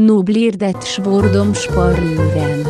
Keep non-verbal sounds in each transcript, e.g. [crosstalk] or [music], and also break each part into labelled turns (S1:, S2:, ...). S1: Nu blir det svordomsparluren.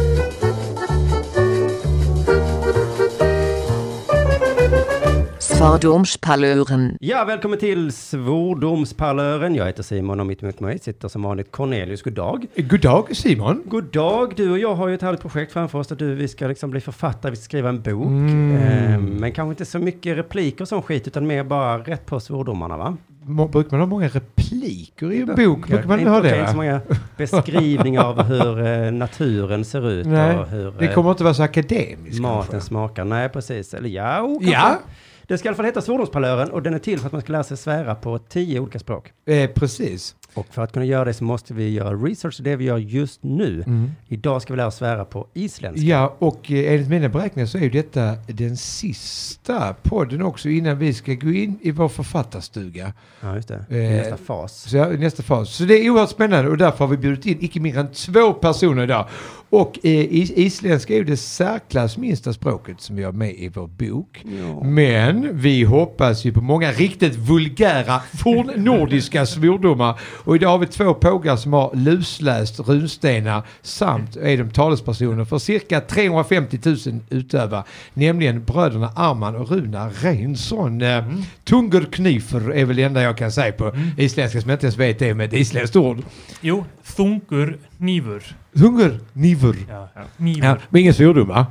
S2: Svordomspalören.
S3: Ja, välkommen till Svordomsparlören. Jag heter Simon och mitt emot mig sitter som vanligt Cornelius. God dag.
S4: God dag Simon.
S3: God dag. Du och jag har ju ett härligt projekt framför oss där du, vi ska liksom bli författare, vi ska skriva en bok.
S4: Mm.
S3: Ehm, men kanske inte så mycket repliker och sån skit, utan mer bara rätt på svordomarna, va?
S4: Må, brukar man ha många repliker i en bok? Brukar man
S3: inte
S4: inte ha
S3: okej,
S4: det?
S3: så
S4: va?
S3: många beskrivningar
S4: [laughs]
S3: av hur eh, naturen ser ut
S4: Nej,
S3: och hur
S4: det
S3: eh,
S4: kommer inte vara så akademiskt
S3: maten
S4: kanske.
S3: smakar. Nej, precis. Eller ja, oh, kanske.
S4: Ja.
S3: Det ska i alla fall heta Svordomsparlören och den är till för att man ska lära sig svära på tio olika språk.
S4: Eh, precis.
S3: Och för att kunna göra det så måste vi göra research, det vi gör just nu. Idag ska vi lära oss svära på isländska.
S4: Ja, och eh, enligt mina beräkningar så är ju detta den sista podden också innan vi ska gå in i vår författarstuga.
S3: Ja, just det. Det är
S4: Eh,
S3: nästa fas.
S4: Så ja, nästa fas. Så det är oerhört spännande och därför har vi bjudit in icke mindre än två personer idag. Och eh, is- isländska är ju det särklass minsta språket som vi har med i vår bok. Men vi hoppas ju på många riktigt vulgära fornnordiska svordomar. Och idag har vi två pågar som har lusläst runstenar samt är de talespersoner för cirka 350 000 utövare. Nämligen bröderna Arman och Runa Reinsson. Mm. Tungur knifer är väl det enda jag kan säga på isländska som jag inte ens vet det med ett isländskt ord.
S5: Jo, Thunkur Knivur.
S4: Tungur kniver.
S5: Ja, ja.
S4: Ja,
S5: Knivur.
S4: men ingen svordom va?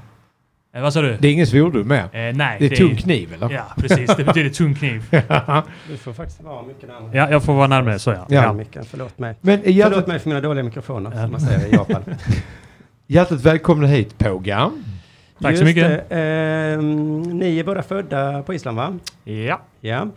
S5: Eh, vad sa du?
S4: Det är ingen svordom med.
S5: eh, nej,
S4: Det är tung kniv eller?
S5: Ja, precis. Det betyder tung kniv.
S3: Du får faktiskt vara mycket närmare.
S5: [laughs] Ja, jag får vara närmare så ja.
S4: Ja.
S3: Mikael, förlåt mig.
S4: Men eh, hjärtat,
S3: Förlåt mig för mina dåliga mikrofoner, som man säger i Japan.
S4: hjärtat välkomna hit pågar.
S5: [laughs] Tack
S3: Just
S5: så mycket.
S3: det, ehm, ni är båda födda på Island, va?
S5: Ja.
S3: Ja.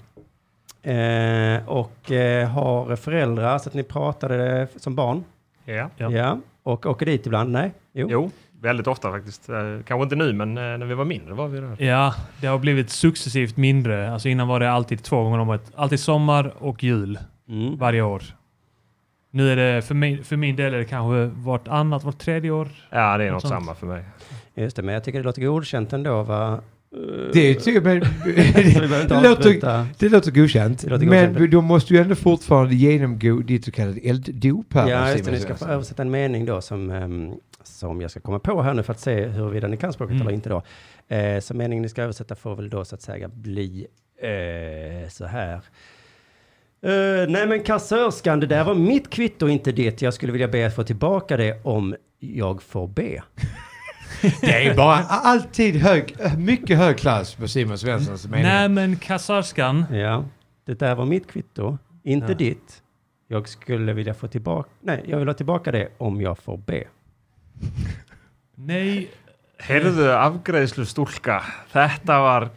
S3: Eh, och eh, har föräldrar, så att ni pratade det som barn?
S6: Ja.
S5: Ja.
S3: Och åker dit ibland? Nej? Jo.
S6: Jo, väldigt ofta faktiskt. Eh, Kanske inte nu, men eh, när vi var mindre var vi där.
S5: ja, det har blivit successivt mindre. Alltså innan var det alltid två gånger om året. Alltid sommar och jul
S3: Mm.
S5: varje år. Nu är det för min, för min del är det kanske vartannat, vart tredje år.
S6: Ja, det är
S5: Något
S6: något
S5: sånt.
S6: samma för mig.
S3: Just det, men jag tycker det låter godkänt ändå,
S5: [laughs]
S3: va?
S4: Det, är ty- men, [laughs]
S3: Så vi behöver inte
S4: det, låter,
S3: avsluta.
S4: det låter godkänt.
S3: Det låter
S4: men
S3: godkänt.
S4: de måste ju ändå fortfarande genomgå ditt så kallade elddop här.
S3: Ja,
S4: Simon
S3: just det. Ni ska få
S4: Svensson.
S3: översätta en mening då som, ehm, som jag ska komma på här nu för att se huruvida ni kan språket
S5: Mm.
S3: eller inte då. Eh, så meningen ni ska översätta får väl då så att säga bli eh, så här. Eh, nej men kassörskan, det där var mitt kvitto, inte ditt. Jag skulle vilja be att få tillbaka det om jag får be.
S4: Det är bara alltid hög, mycket hög klass på Simon Svenssons
S5: Nej,
S4: mening.
S5: men kassarskan.
S3: Ja, det där var mitt kvitto, inte
S5: Ja.
S3: ditt. Jag skulle vilja få tillbaka, nej, jag vill ha tillbaka det om jag får be.
S5: Nej.
S6: Herðu afgreiðslu stúlka, þetta var,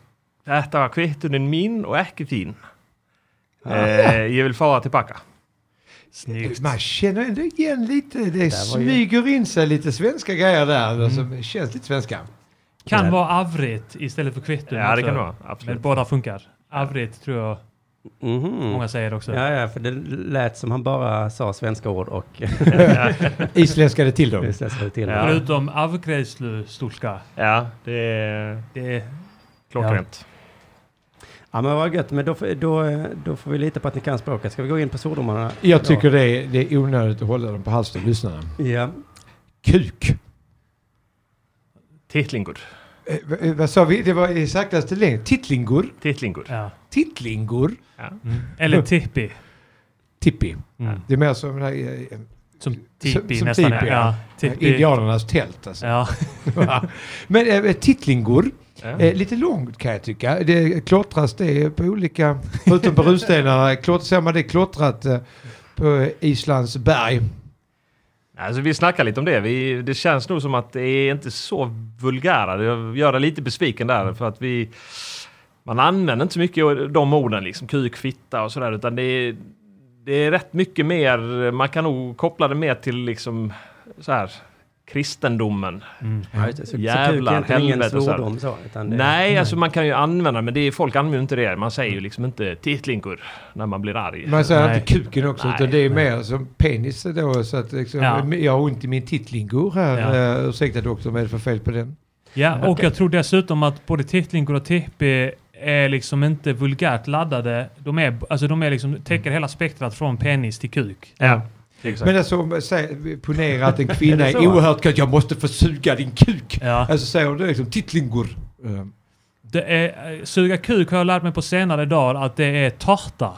S6: þetta var kvittunin mín og ekki þín. Eh, ég vil fá það tilbaka.
S5: Snyggt.
S4: Man känner ändå igen lite, det
S3: där var ju- Mm.
S4: smyger in sig lite svenska grejer där som känns lite svenska.
S5: Kan vara avret istället för kvitto.
S6: Ja, det
S5: också.
S6: kan det vara.
S5: Men
S6: Absolut.
S5: båda funkar. Avrit tror jag
S3: Mhm.
S5: många säger
S6: Typ.
S5: också.
S3: Ja, ja, för det lät som han bara sa svenska ord och [laughs]
S4: Isländskade till dem.
S3: stressade till
S6: Ja.
S3: det.
S5: Förutom avgräslu stulka.
S6: Ja, det er
S5: Det är
S6: klokkrent.
S3: Ja, men vad gött. Men då, får- då, då får vi lita på att ni kan språket. Ska vi gå in på svordomarna?
S4: Jag tycker det är, det är onödigt att hålla dem på halsen, lyssnarna.
S3: Ja.
S4: Kuk.
S6: Tittlingur.
S4: Eh, va- eh, vad sa vi? Det var i saktaste längd. Tittlingor.
S6: Tittlingur.
S5: Ja.
S4: Tittlingor.
S5: Eller tippi.
S4: Tippi.
S5: Mm.
S4: Det är mer som den här, eh,
S5: Som
S4: Som-
S5: tippi
S4: som
S5: nästan
S4: tipi,
S5: är. Ja. Tippi.
S4: indianernas tält. Alltså.
S5: Ja.
S4: Men äh, tittlingor,
S6: Ja.
S4: eh, lite långt kan jag tycka. Det klottras det på olika, förutom på runstenarna, klott, ser man det klottrat eh, på Islands berg.
S6: Alltså, vi snackar lite om det. Vi, det känns nog som att det är inte så vulgära. Jag gör dig lite besviken där för att vi... Man använder inte så mycket de orden, liksom kuk, fitta och sådär, utan det är, det är rätt mycket mer. Man kan nog koppla det mer till liksom så här kristendomen.
S5: Mm.
S3: ja just det. Så, så kuk är
S6: Jävlar,
S3: egentligen ingen
S6: helvete och så här.
S3: svordom så. Utan det,
S6: Nej, alltså man kan ju använda, men det är, folk använder inte det. Man säger ju liksom inte tittlinkur när man blir arg.
S4: Man säger
S5: Nej.
S4: inte kuken också,
S6: Nej.
S4: utan det är mer som penis då. Så att liksom,
S5: Ja.
S4: Jag har ont i min tittlingor här.
S5: Ja.
S4: Eh, ursäkta doktorn, vad är det för fel på den?
S5: ja, och jag tror dessutom att både tittlingur och tippi är liksom inte Mm. vulgärt laddade. De är, alltså de är liksom, täcker hela spektrat från penis till kuk.
S6: Ja. Exakt.
S4: Men alltså, säg, ponera att en kvinna
S6: Är
S4: är,
S6: det så?
S4: oerhört kall. Jag måste få suga din kuk.
S5: Ja.
S4: Alltså säger du liksom tittlingor. Eh,
S5: Det är, eh, suga kuk har jag lärt mig på senare dagar att det är [laughs] torta.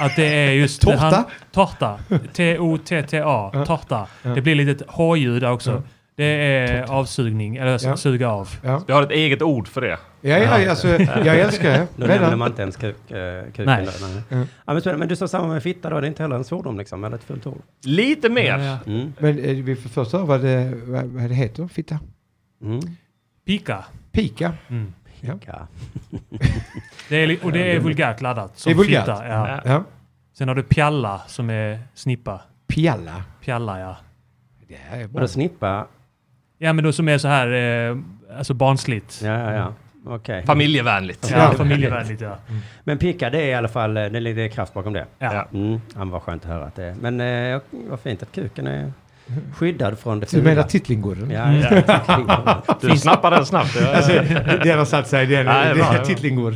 S5: Att det är just...
S4: Torta?
S5: det torta. T-O-T-T-A. Torta. Det blir lite ett H-ljud där också. Det är avsugning, eller
S4: Ja.
S5: s- suga av.
S6: Vi har ett eget ord för det.
S4: Ja, ja, alltså, jag älskar det.
S3: Då nämner
S4: Redan.
S3: man inte ens kuk, eh, kuken.
S5: Nej.
S3: Nej. Där,
S6: Mm.
S3: nej. Ja, men, spännande. men du sa samma med fitta då, det är inte heller en svordom liksom, eller ett fult ord?
S6: Lite mer.
S5: Ja.
S3: Mm.
S4: Men eh, vi får först höra vad det, vad, vad det heter, fitta.
S3: Mm.
S5: Pika.
S4: Pika.
S5: Mm.
S3: Ja.
S5: Det är, li- och det är vulgärt laddat. Som
S4: Det är vulgärt.
S5: Fitta, ja.
S4: Ja.
S5: Sen har du pjalla som är snippa.
S4: Pialla.
S5: Pjalla ja.
S4: Det här är bra.
S3: Vadå snippa?
S5: Ja men då som är så här, eh, alltså barnsligt.
S3: Ja, ja, ja.
S6: Mm.
S3: Okej.
S6: Familjevänligt.
S5: Ja, familjevänligt ja.
S3: Men picka, det är i alla fall, eh, det ligger det är kraft bakom det.
S5: ja.
S6: Ja.
S3: Mm. Ja, men vad skönt att höra att det är. Men eh, vad fint att kuken är skyddad från det
S4: Du menar
S3: fula.
S4: tittlingor? [laughs]
S3: Ja, just det.
S6: Du snappar den snabbt. Ja, ja.
S4: Alltså, den har satt sig. Den,
S6: Ja, det är
S4: den
S6: bra, det är bra.
S4: tittlingor.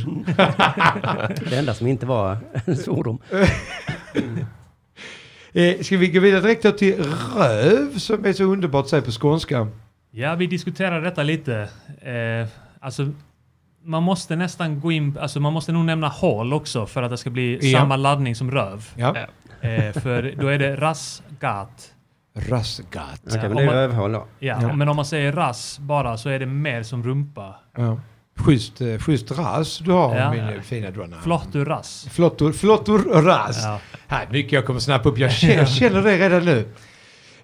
S3: Det enda som inte var [laughs] en svordom.
S4: Eh, ska vi gå vidare direkt då till röv som är så underbart att säga på skånska?
S5: Ja, vi diskuterade detta lite. Eh, alltså, man måste nästan gå in, alltså man måste nog nämna hål också för att det ska bli
S4: Ja.
S5: samma laddning som röv.
S4: Ja.
S6: Ja.
S5: Eh, för då är det rasgat.
S4: Rassgat.
S3: Okej, men
S5: om
S3: det är ju
S5: man-
S3: rövhål då.
S5: Ja,
S4: Ja.
S5: men om man säger rass bara så är det mer som rumpa.
S4: Ja. Schysst, eh, schysst rass du har
S5: Ja.
S4: min eh, fina donna.
S5: Flottur rass.
S4: Flottor, flottor och rass.
S5: Ja.
S4: Här, mycket jag kommer snappa upp. Jag känner, jag känner det redan nu.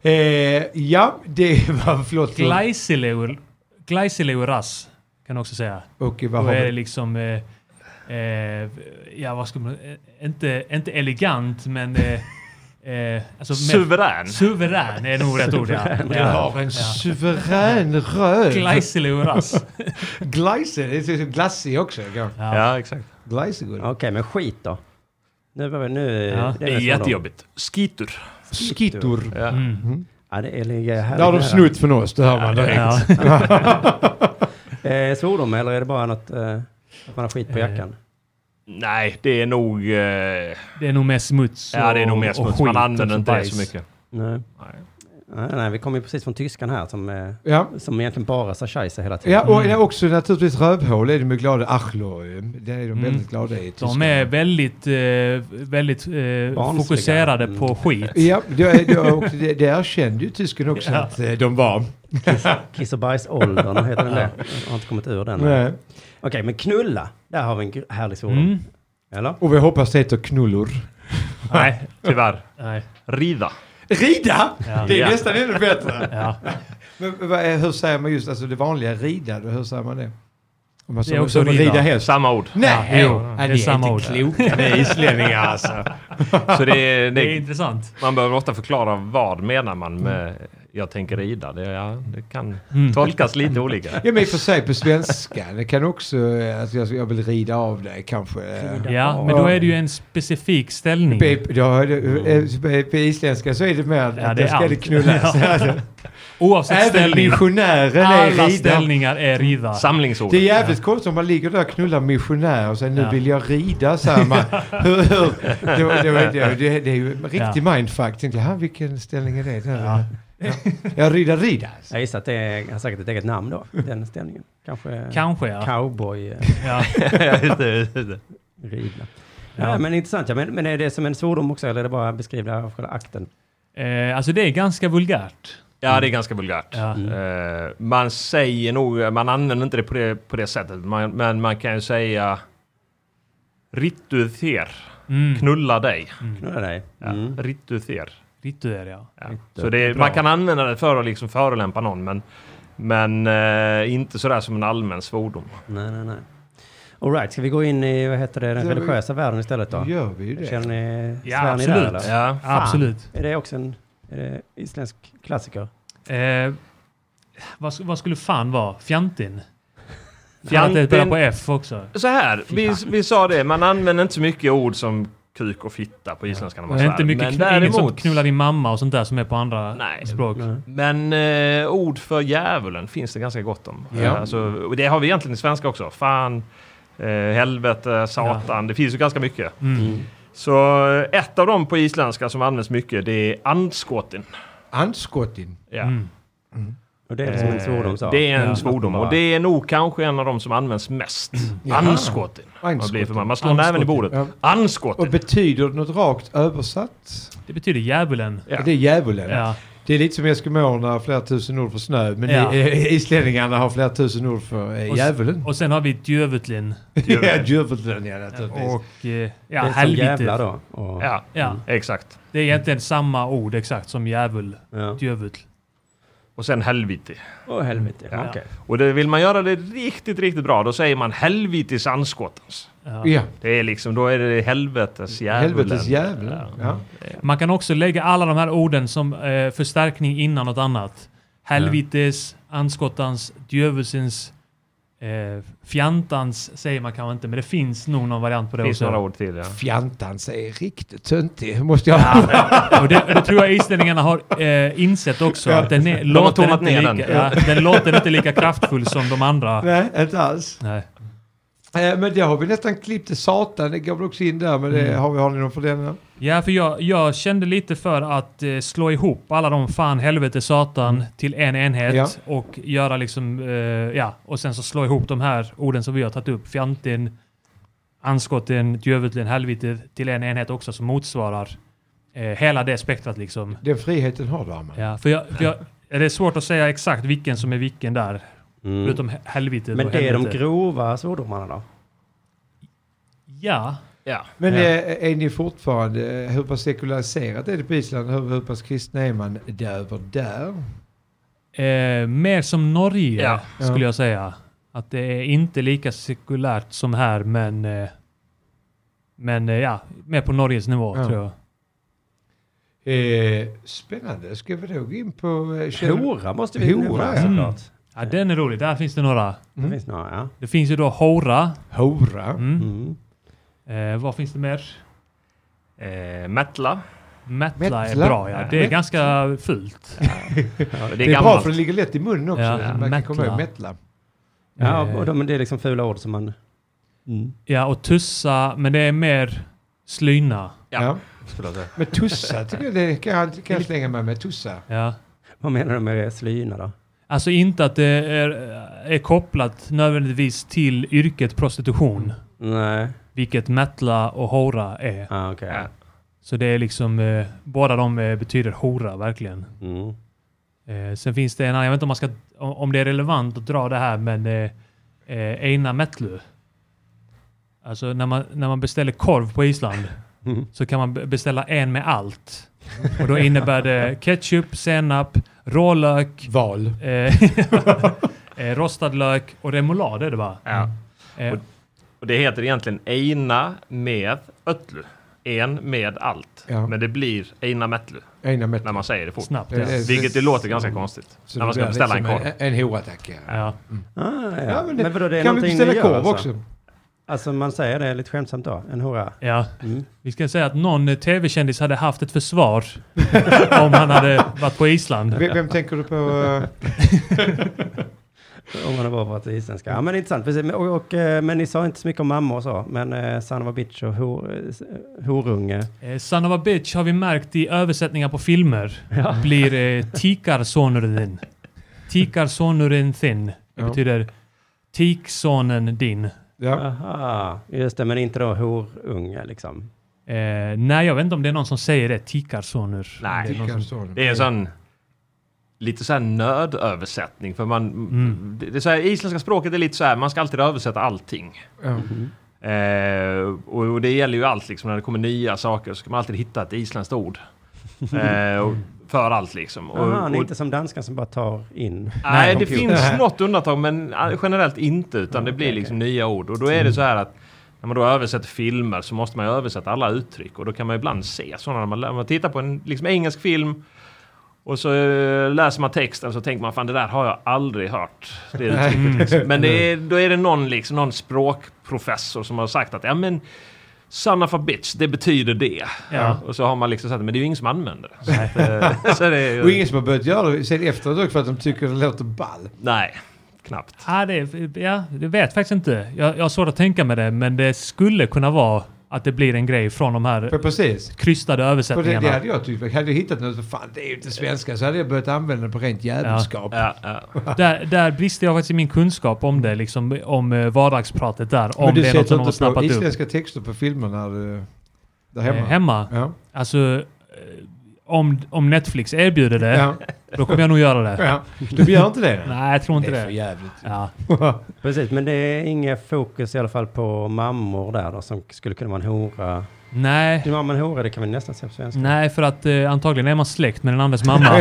S4: Eh, ja, det var flottor.
S5: Gleisileur- Gleisileur rass kan jag också säga.
S4: Och vad
S5: Då
S4: har
S5: är det
S4: vi?
S5: liksom... Eh, eh, ja, vad ska man... Eh, inte, inte elegant, men... Eh, eh, alltså mer-
S6: Suverän.
S5: Suverän är nog rätt ord, ja.
S4: Du har en suverän röv.
S5: Gleiseluras.
S4: Gleise, det är så- så glassig också. ja.
S6: Ja, exakt.
S4: Gleisegod.
S3: Okej, men skit då. Nu, behöver- nu,
S5: Ja,
S6: Det är
S3: en svordom.
S6: jättejobbigt. Skitur.
S4: Skittor.
S6: Ja.
S5: Mm.
S3: Ja, det är- ligger
S4: Där har de
S3: nära.
S4: snott från oss, det hör man direkt.
S5: Ja.
S3: Eh, svordom eller är det bara något, eh, att man har skit på jackan?
S6: Nej, det är nog... Eh,
S5: Det är nog mer smuts
S6: ja, det är nog mer
S5: och-
S6: smuts.
S5: och
S6: Man
S5: skit
S6: använder
S5: och
S6: inte det
S5: bajs.
S6: så mycket.
S3: Nej.
S6: Nej.
S3: Nej, nej, vi kommer ju precis från tyskan här som, eh,
S4: Ja.
S3: som egentligen bara sa scheisse hela tiden.
S4: Ja, och det är också naturligtvis rövhål är de ju glada. Achlo, det är de
S5: Mm.
S4: väldigt glada i.
S5: De
S4: Tyskland.
S5: är väldigt, eh, väldigt eh,
S3: Barnsliga.
S5: fokuserade på
S3: Mm.
S5: skit.
S4: Ja, det, det, och det, det erkände ju tysken också
S5: [laughs] Ja.
S4: att eh, de var.
S3: Kiss och bajsåldern, heter den det? Jag har inte kommit ur den. Okej,
S4: Nej.
S3: men knulla, där har vi en gr- härlig svordom.
S5: Mm.
S3: Eller?
S4: Och vi hoppas det heter knullor.
S6: Nej, tyvärr.
S5: Nej.
S6: Rida.
S4: Rida!
S5: Ja.
S4: Det är
S6: Ja.
S4: nästan ännu bättre.
S5: Ja.
S4: Men vad är, hur säger man just alltså det vanliga rida? Då, hur säger man det? Om man
S5: Det är också rida.
S4: häst?
S6: Samma ord.
S4: Nej,
S5: jo, det är
S4: ni
S5: samma ord.
S4: inte
S5: [laughs]
S4: kloka ni är islänningar alltså.
S6: Så det är,
S5: Det är
S6: det,
S5: intressant.
S6: man behöver ofta förklara vad menar man med jag tänker rida. Det, ja, det kan
S5: Mm.
S6: tolkas lite olika.
S4: Ja men i och för sig på svenska, det kan också, eh, alltså jag, jag vill rida av dig kanske. eh.
S5: Ja, men då är det ju en specifik ställning.
S4: På- ja, det- eh, På isländska så är det mer att
S5: det är
S4: det ska
S5: allt.
S4: det knullas.
S5: Oavsett
S4: Även
S5: ställning.
S4: missionären är
S5: Alla
S4: rida.
S5: ställningar är rida.
S6: Samlingsord.
S4: Det är jävligt konstigt om man ligger där och knullar missionär och säger nu
S5: Ja.
S4: vill jag rida. Så här, man, hur, hur, det, det, det, det, det är ju en riktig mindfuck. Tänkte jag, "Ha, vilken ställning är det? Där? Ja. Jag rider rida. alltså.
S3: Jag gissar att det är, har säkert ett eget namn då, den ställningen. Kanske
S5: Kanske ja.
S3: cowboy eh,
S5: ja.
S6: Ja, just det, just det.
S3: ridna. Ja, men intressant. Ja. Men, men är det som en svordom också eller är det bara beskrivna själva akten?
S5: Eh, alltså det är ganska vulgärt.
S6: ja, det är ganska vulgärt.
S5: Mm. Ja.
S3: Mm.
S6: Eh, man säger nog, man använder inte det på det, på det sättet, man, men man kan ju säga Rituether,
S5: Mm.
S6: knulla dig.
S3: Knulla dig.
S6: Ja.
S3: Mm.
S6: Rituether.
S5: Rituer ja.
S6: Ja. Så det, är- man kan använda det för att liksom förolämpa någon, men, men eh, inte sådär som en allmän svordom.
S3: Nej, nej, nej. All right, ska vi gå in i, vad heter det, den
S4: Ja,
S3: religiösa världen istället då?
S4: Då gör vi ju det.
S3: Känner ni,
S5: Ja,
S3: svär ni där
S5: absolut.
S3: eller?
S6: Ja.
S3: Fan.
S5: Absolut.
S3: Är det också en är det isländsk klassiker?
S5: Eh, vad, sk- vad skulle fan vara? Fjantin? Fjantin
S6: Fjantin.
S5: det börjar på F också.
S6: Så här, vi, vi sa det, man använder inte så mycket ord som kuk och fitta på isländska. när man
S5: Det är inte
S6: svär,
S5: mycket
S6: men
S5: kn- inget som
S6: däremot-
S5: knullar din mamma och sånt där som är på andra
S6: Nej.
S5: språk.
S3: Nej.
S6: Men eh, ord för djävulen finns det ganska gott om.
S4: Ja.
S6: Eh, Alltså, och det har vi egentligen i svenska också. Fan, eh, helvete, satan. Det finns ju ganska mycket.
S5: Mm.
S6: Så eh, ett av dem på isländska som används mycket, det är andskotin.
S4: Anskottin.
S6: Ja.
S5: Mm.
S3: Och Mm. det är som en
S6: Eh,
S3: svordom sa.
S6: Det är en
S5: Ja.
S6: svordom och det är nog kanske en av de som används mest.
S3: Mm.
S4: Jaha.
S6: Anskotin. Man, blir
S4: Anskotin.
S6: förbannad. man slår näven i bordet.
S4: Ja. Och
S6: Anskotin.
S4: betyder något rakt översatt?
S5: Det betyder djävulen.
S6: Ja.
S4: Det är djävulen.
S5: Ja.
S4: Det är lite som eskimåerna flera tusen ord för snö, men
S5: Ja.
S4: i- i- islänningarna har flera tusen ord för eh,
S5: Och s-
S4: djävulen.
S5: Och sen har vi djövutlin.
S4: [laughs] Ja, djävulen ja naturligtvis.
S5: Och eh,
S3: Det
S5: ja,
S3: är som jävla
S5: helvete.
S3: då. Och,
S6: Ja,
S5: Ja.
S6: exakt.
S5: Det är egentligen samma ord exakt som djävul.
S3: ja.
S5: Djövul.
S6: Och sen helvete.
S3: Åh helvete.
S6: Ja.
S3: Okej.
S6: Och det, vill man göra det riktigt, riktigt bra, då säger man helvetes anskottens.
S5: Ja.
S4: Ja,
S6: Det är liksom, då är det helvetes djävulen.
S4: helvetes djävulen. Ja.
S5: Man kan också lägga alla de här orden som eh, förstärkning innan något annat. Helvites, anskottans, djävulsens, eh, fjantans säger man kanske inte, men det finns nog någon variant på det
S6: Det finns
S5: också.
S6: några ord till ja.
S4: Fjantans är riktigt töntig, måste jag ja.
S5: Och det, det tror jag islänningarna har eh, insett också.
S4: Ja.
S5: Att den, är,
S6: har
S5: låter
S6: tonat
S5: inte
S6: ner
S5: lika,
S6: den.
S5: Ja, den låter inte lika kraftfull som de andra.
S4: Nej, inte alls.
S5: Nej.
S4: [laughs] Eh, Men det har vi nästan klippt till satan. Det går väl också in där, men det har, vi, har ni någon för den? här?
S5: Ja, för jag, jag kände lite för att eh, slå ihop alla de fan, helvete, satan till en enhet
S4: Ja.
S5: och göra liksom, eh, ja, och sen så slå ihop de här orden som vi har tagit upp. Fjantin, anskotten, djövulen, helvete till en enhet också som motsvarar eh, hela det spektrat liksom.
S4: Den friheten har du, Arman.
S5: Ja, för jag, för jag, det är svårt att säga exakt vilken som är vilken där,
S3: Mm.
S5: förutom he- helvetet
S3: Men
S5: och
S3: det är de
S5: helvete.
S3: grova svordomarna då?
S5: Ja,
S6: ja.
S4: Men
S5: Ja.
S4: eh, är ni fortfarande, eh, hur pass sekulariserat är det på Island? Hur, hur pass kristna är man där över där?
S5: eh, mer som Norge
S6: Ja.
S5: skulle jag säga. Att det är inte lika sekulärt som här, men... Eh, men eh, ja, mer på Norges nivå
S4: Ja.
S5: tror jag.
S4: Eh, spännande. Ska vi då gå in på... Eh, Kjell-
S3: Hora måste vi nämna
S4: Hora, ja.
S3: såklart.
S5: Ja, den är rolig. Där finns det några.
S3: Det
S4: Mm.
S3: finns några ja.
S5: Det finns ju då hora.
S4: Hora.
S5: Mm.
S3: Mm.
S5: Eh, vad finns det mer?
S6: Eh, metla.
S5: Metla är
S4: Metla.
S5: bra ja. Det är
S4: Metla.
S5: ganska fult.
S6: Det är,
S4: Det är bra
S6: gammalt.
S4: för det ligger lätt i munnen också.
S5: Ja,
S4: så man kan
S5: mättla.
S4: komma ihåg mättla.
S3: Ja, och de, men det är liksom fula ord som man... Mm.
S5: Ja, och tussa, men det är mer slyna.
S6: Ja.
S4: Ja.
S6: Förlåt, ja.
S4: Men tussa tycker jag det kan jag, kan jag slänga mig med. Tussa.
S5: Ja.
S3: Vad menar du med slyna då?
S5: Alltså inte att det är, är kopplat nödvändigtvis till yrket prostitution,
S3: Nej.
S5: vilket metla och hora är.
S3: Ah, okej.
S6: Ja.
S5: Så det är liksom, eh, båda de eh, betyder hora verkligen.
S3: Mm.
S5: Eh, sen finns det en annan, jag vet inte om, man ska, om om det är relevant att dra det här, men eh, eh, Eina Metlu. Alltså när man, när man beställer korv på Island
S3: Mm.
S5: så kan man be- beställa en med allt. Och då innebär det ketchup, senap, rålök,
S4: Val.
S5: eh, [laughs] eh, rostad lök och remoulad är det va?
S6: Ja.
S5: Eh,
S6: Och- Och det heter egentligen eina med ötlu. En med allt.
S4: Ja.
S6: Men det blir eina metlu
S4: Ena
S6: när
S4: mättla.
S6: man säger det fort.
S5: snabbt.
S4: Ja,
S5: Ja.
S4: det är-
S6: Vilket det låter ganska konstigt.
S4: Så
S6: när
S4: det
S6: man ska
S4: blir
S6: beställa
S4: liksom
S6: en korv.
S4: En, en horattack. Ja.
S3: Ah,
S5: Ja.
S3: ja.
S4: Ja,
S3: men,
S4: men det-
S3: vadå, det är
S4: Kan vi
S3: någonting ni
S4: beställa
S3: gör,
S4: korv
S3: alltså?
S4: också?
S3: Alltså man säger det lite skämtsamt då, en hora.
S5: ja.
S3: Mm.
S5: Vi ska säga att någon eh, tv-kändis hade haft ett försvar [laughs] om han hade varit på Island.
S4: Vem, vem tänker du på? eh?
S3: Om man har bara pratat isländska. Ja men intressant. Precis. Men- Och, och, eh, men ni sa inte så mycket om mamma och så. Men eh, Sanna bitch och hor, eh, s- horunge.
S5: Eh, Son of a bitch har vi märkt i översättningar på filmer blir eh, tikarsonen din. Tikarsonen thin. Det
S4: Ja.
S5: betyder tiksonen din. Eh,
S4: Ja.
S3: Aha, just det. Men inte då horunge liksom.
S5: Eh, nej, jag vet inte om det är någon som säger det. Tikarsoner.
S6: Nej.
S5: Det är någon som,
S3: Mm.
S6: Det är en sån lite så här nödöversättning. För man,
S3: Mm.
S6: det, det är så här, isländska språket är lite så här, man ska alltid översätta allting.
S4: Ja.
S6: Eh, och, och det gäller ju allt, liksom, när det kommer nya saker så ska man alltid hitta ett
S3: [laughs]
S6: isländskt ord. Eh, och, för allt liksom. Och,
S3: Aha, ni är
S6: och,
S3: inte som danskan som bara tar in. [laughs]
S6: nej, det
S3: computer.
S6: finns något undantag men eh, generellt inte. Utan det blir
S3: okej,
S6: liksom nya ord. Och då är det så här att när man då översätter filmer så måste man ju översätta alla uttryck. Och då kan man ju ibland se sådana. När man, lä- om man tittar på en liksom, engelsk film och så eh, läser man texten så tänker man fan det där har jag aldrig hört. Det uttrycket. liksom." Men det är, då är det någon, liksom, någon språkprofessor som har sagt att ja men son of a bitch, det betyder det.
S5: Ja.
S6: Och så har man liksom sagt men det är ju ingen som använder det. Så, att, eh, så det är
S4: Och
S6: ju,
S4: ingen som har börjat göra det sen efteråt också för att de tycker det låter ball.
S6: nej, knappt.
S5: ah, det, är- ja, det vet jag faktiskt inte. Jag, jag har svårt att tänka mig det, men det skulle kunna vara Att det blir en grej från de här
S4: För precis. För
S5: krystade
S4: det, det
S5: översättningarna.
S4: hade jag tyckt. Hade jag hittat något, för fan det är ju inte svenska, så hade jag börjat använda det på rent jävelskap.
S6: Ja, ja.
S5: Där, där brister jag faktiskt i min kunskap om det, liksom om eh, vardagspratet där. Om
S4: Men du
S5: det är något
S4: sätter
S5: som de har
S4: inte på
S5: snappat upp.
S4: isländska texter på filmerna eh, där
S5: Eh,
S4: hemma?
S5: hemma.
S4: Ja.
S5: Alltså, eh, om, om Netflix erbjuder det,
S4: Ja.
S5: då kommer jag nog göra
S4: [laughs]
S5: det.
S4: ja. Du gör inte det?
S5: Nej, jag tror inte
S4: Det är för
S5: det.
S4: jävligt.
S5: Ja.
S3: Precis, men det är inga fokus i alla fall på mammor där då, som skulle kunna vara en hora.
S5: Nej.
S3: Din mamma en hora, det kan vi nästan se på svenska.
S5: Nej, för att eh, antagligen är man släkt med den
S4: [laughs]
S5: andres mamma.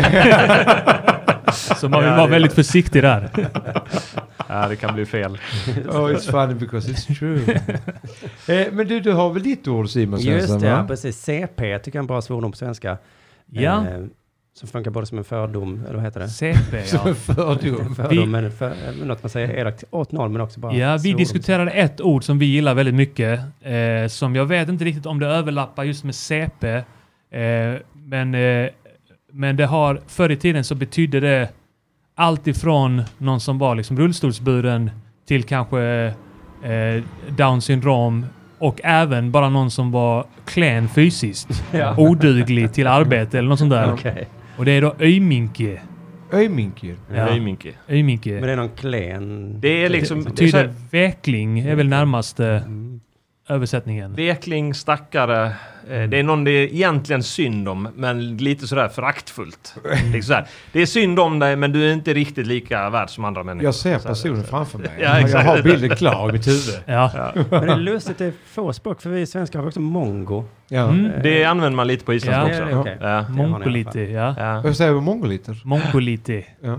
S5: Så man vill
S6: Ja,
S5: vara
S6: det-
S5: väldigt försiktig där.
S4: [laughs]
S6: ja, det kan bli fel.
S4: Oh, it's funny because it's true. eh, men du, du har väl ditt ord Simon
S3: Just
S4: Svensson?
S3: det, ja,
S4: va?
S3: precis. CP jag tycker jag är en bra svordom på svenska.
S5: Ja,
S3: Eh, som funkar både som en fördom, eller vad heter
S4: Eh.
S3: det?
S5: CP ja.
S4: Fördom.
S3: En fördom, men för, eh, något man säger elakt åt någon, men också bara
S5: Ja, vi
S3: svordom.
S5: diskuterade ett ord som vi gillar väldigt mycket. Eh, som jag vet inte riktigt om det överlappar just med CP. Eh, men, eh, men det har, förr i tiden så betydde det allt ifrån någon som var liksom rullstolsburen till kanske eh, down syndrom och även bara någon som var klen fysiskt. Oduglig till arbete eller något sånt där.
S3: Okej.
S5: Och det är då öjminke.
S4: Öjmink ju.
S5: Ja,
S6: [laughs] Nej, Minke.
S5: öjminke.
S3: Men det är någon klen...
S6: Det är liksom-
S5: betyder
S6: Så-
S5: vekling är väl närmaste
S3: Mm.
S5: översättningen.
S6: Vekling, stackare. Eh, Det är någon det är egentligen synd om, men lite sådär föraktfullt. Liksom sådär. Det är synd om dig, men du är inte riktigt lika värd som andra människor.
S4: Jag ser
S6: Så här,
S4: personen
S6: så här.
S4: framför mig.
S6: Ja,
S4: jag
S6: exakt.
S4: har bilden klar i mitt huvud.
S5: Ja.
S3: Men det är lustigt, det är få språk, för vi svenskar har också mongo. Eh,
S4: Ja.
S5: Mm.
S6: Det använder man lite på
S5: Ja,
S6: Island
S3: det är
S6: också.
S3: okej.
S6: Ja.
S3: ni i alla fall.
S5: Mongoliti, ja.
S6: Ja.
S4: Jag säger mongoliter.
S5: Mongoliti.
S4: Ja.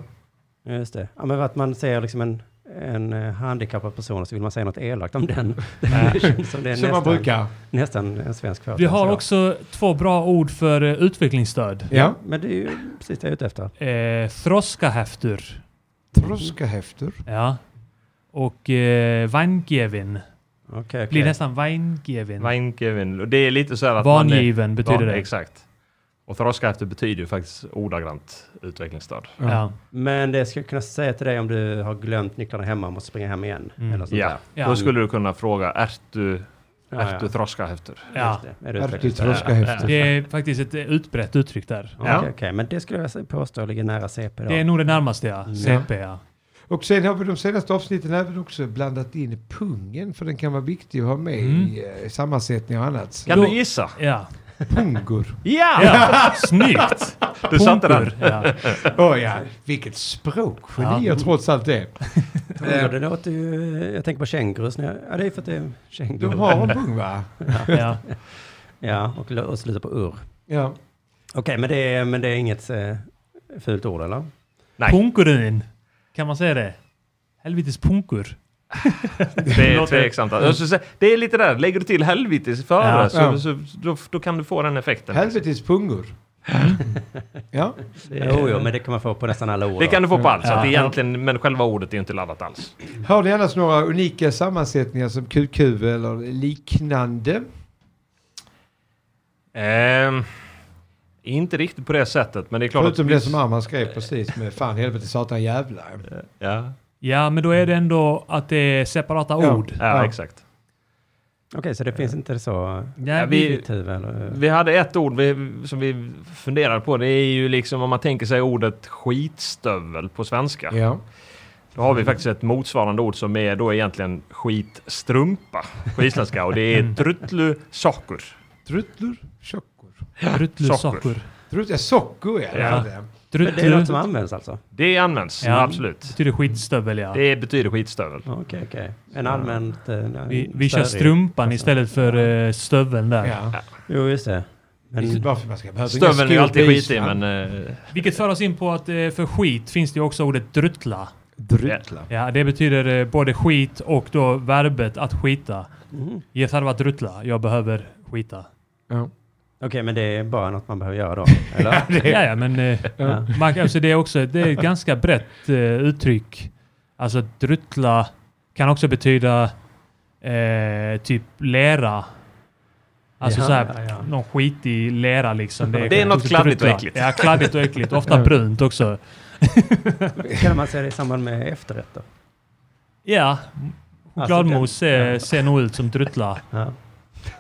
S3: Ja, Just det. Ja, men att man ser liksom en, en eh, handikappad person och så vill man säga något elakt om
S5: [laughs]
S3: den. Det känns som det är
S4: Som man
S3: nästan,
S4: brukar.
S3: nästan en svensk företeelse.
S5: Vi har
S3: idag.
S5: också två bra ord för eh, utvecklingsstöd.
S4: Ja.
S3: Men det är ju precis det jag är ute efter.
S5: Eh, Froskahäftur.
S4: Troskahäfter.
S5: Ja. Och eh, Weingevin.
S3: Okej,
S5: Blir
S3: okej.
S5: nästan Weingevin.
S6: Weinkevin. Och Det är lite så här att man... är-
S5: Vangiven betyder
S6: Ja,
S5: det.
S6: Exakt. Och Throskafter betyder ju faktiskt ordagrant utvecklingsstöd.
S5: Ja.
S3: Men det ska jag kunna säga till dig om du har glömt nycklarna hemma och måste springa hem igen.
S5: Mm.
S3: Eller sånt
S6: Ja.
S3: där.
S5: Ja.
S6: Då skulle du kunna fråga, är du,
S3: Ja,
S6: är
S3: ja.
S6: du Throskafter?
S5: ja.
S3: Just det. Är det
S4: Ärkligt
S3: utvecklingsstörda?
S4: troskahäfter.
S5: Det är faktiskt ett eh, utbrett uttryck där.
S3: Ja. Okej, okej. men det skulle jag påstå ligger nära CP då.
S5: Det är nog det närmaste ja. CP ja.
S4: Och sen har vi de senaste avsnitten även också blandat in pungen för den kan vara viktig att ha med i eh, sammansättning och annat.
S6: Kan
S5: Då-
S6: du gissa?
S5: Ja.
S4: Pungor.
S6: Ja! [laughs]
S5: ja. Snyggt!
S6: Du satte den.
S5: Punkor, Ja.
S4: Åh ja, vilket språkgeni
S5: Ja.
S4: jag trots allt är. Eh,
S3: Ja, det låter ju... Jag tänker på kängurus. när jag- Ja, det är för att det är
S4: Du
S3: kängurus.
S4: har en pung va?
S5: Ja.
S3: Ja, och, lo- och slutar på ur.
S4: Ja.
S3: Okej, men, det är, men det är inget eh, fult ord eller?
S6: [laughs] Nej.
S5: Punkurin. Kan man säga det? Helvetes punkur.
S6: Det är tveksamt. Jag skulle säga, Det är lite där, lägger du till helvetes före
S5: Ja.
S6: så,
S4: Ja.
S6: Så, då, då kan du få den effekten.
S4: Helvetes pungor. Ja.
S3: Jo, jo, men det kan man få på nästan alla ord.
S6: Det kan du få på allt. Så att
S5: Ja.
S6: det är egentligen, men själva ordet är ju inte laddat alls.
S4: Har ni annars några unika sammansättningar som QQ eller liknande?
S6: Ehm, inte riktigt på det sättet, men det är klart
S4: Förutom
S6: att...
S4: det som Arman skrev precis med fan helvete satan jävlar.
S6: Ja,
S5: Ja, men då är det ändå att det är separata
S4: Ja.
S5: ord.
S6: ja,
S4: Ja.
S6: exakt.
S3: Okej, så det finns inte så...
S5: Ja,
S6: vi-
S5: vi,
S3: Ditt huvud, eller?
S6: Vi hade ett ord vi, som vi funderade på. Det är ju liksom om man tänker sig ordet skitstövel på svenska.
S4: Ja.
S6: Då har vi faktiskt ett motsvarande ord som är då egentligen skitstrumpa på isländska. Och det är trutlu sakur.
S4: Trutlur, tjockor.
S5: Drutlu
S6: Socker.
S5: socker.
S4: Trut, ja, sockor ja.
S6: Ja.
S4: det är det.
S3: Men Det är något
S5: Drutlu
S3: som används alltså?
S6: Det används,
S5: Ja.
S6: absolut.
S5: betyder skitstövel, ja.
S6: Det betyder skitstövel.
S3: Okej, okej. En allmänt... Eh,
S5: Vi, vi kör
S3: störig-
S5: strumpan istället för eh, stöveln där.
S4: Ja.
S3: Jo, just det. Men,
S4: Varför man ska behöva inga
S6: Stöveln är ju
S4: skor
S6: alltid
S4: på
S6: skitig,
S4: Island.
S6: men... eh,
S5: Vilket för oss in på att eh, för skit finns det ju också ordet drutla.
S4: Drutla.
S5: Ja, det betyder eh, både skit och då verbet att skita.
S3: mm.
S5: Jag tarvar drutla, jag behöver skita.
S4: Ja.
S3: Okej, men det är bara något man behöver göra [laughs] då? Eller?
S5: Ja, ja, men
S6: [laughs]
S5: eh,
S3: Ja.
S5: man, alltså, det är också det är ett ganska brett eh, uttryck. Alltså drutla kan också betyda eh, typ lera. Alltså
S3: Ja,
S5: så här,
S3: ja, ja.
S5: någon skitig lera liksom.
S6: [laughs] Det är något
S5: också
S6: kladdigt och
S5: drutla.
S6: äckligt.
S5: Ja, kladdigt och
S6: [laughs]
S5: äckligt. Ofta brunt också.
S3: kan man säga det i samband med efterrätter?
S5: Ja,
S3: Alltså,
S6: Alltså,
S5: chokladmos ser, ser nog ut som drutla.
S3: Ja.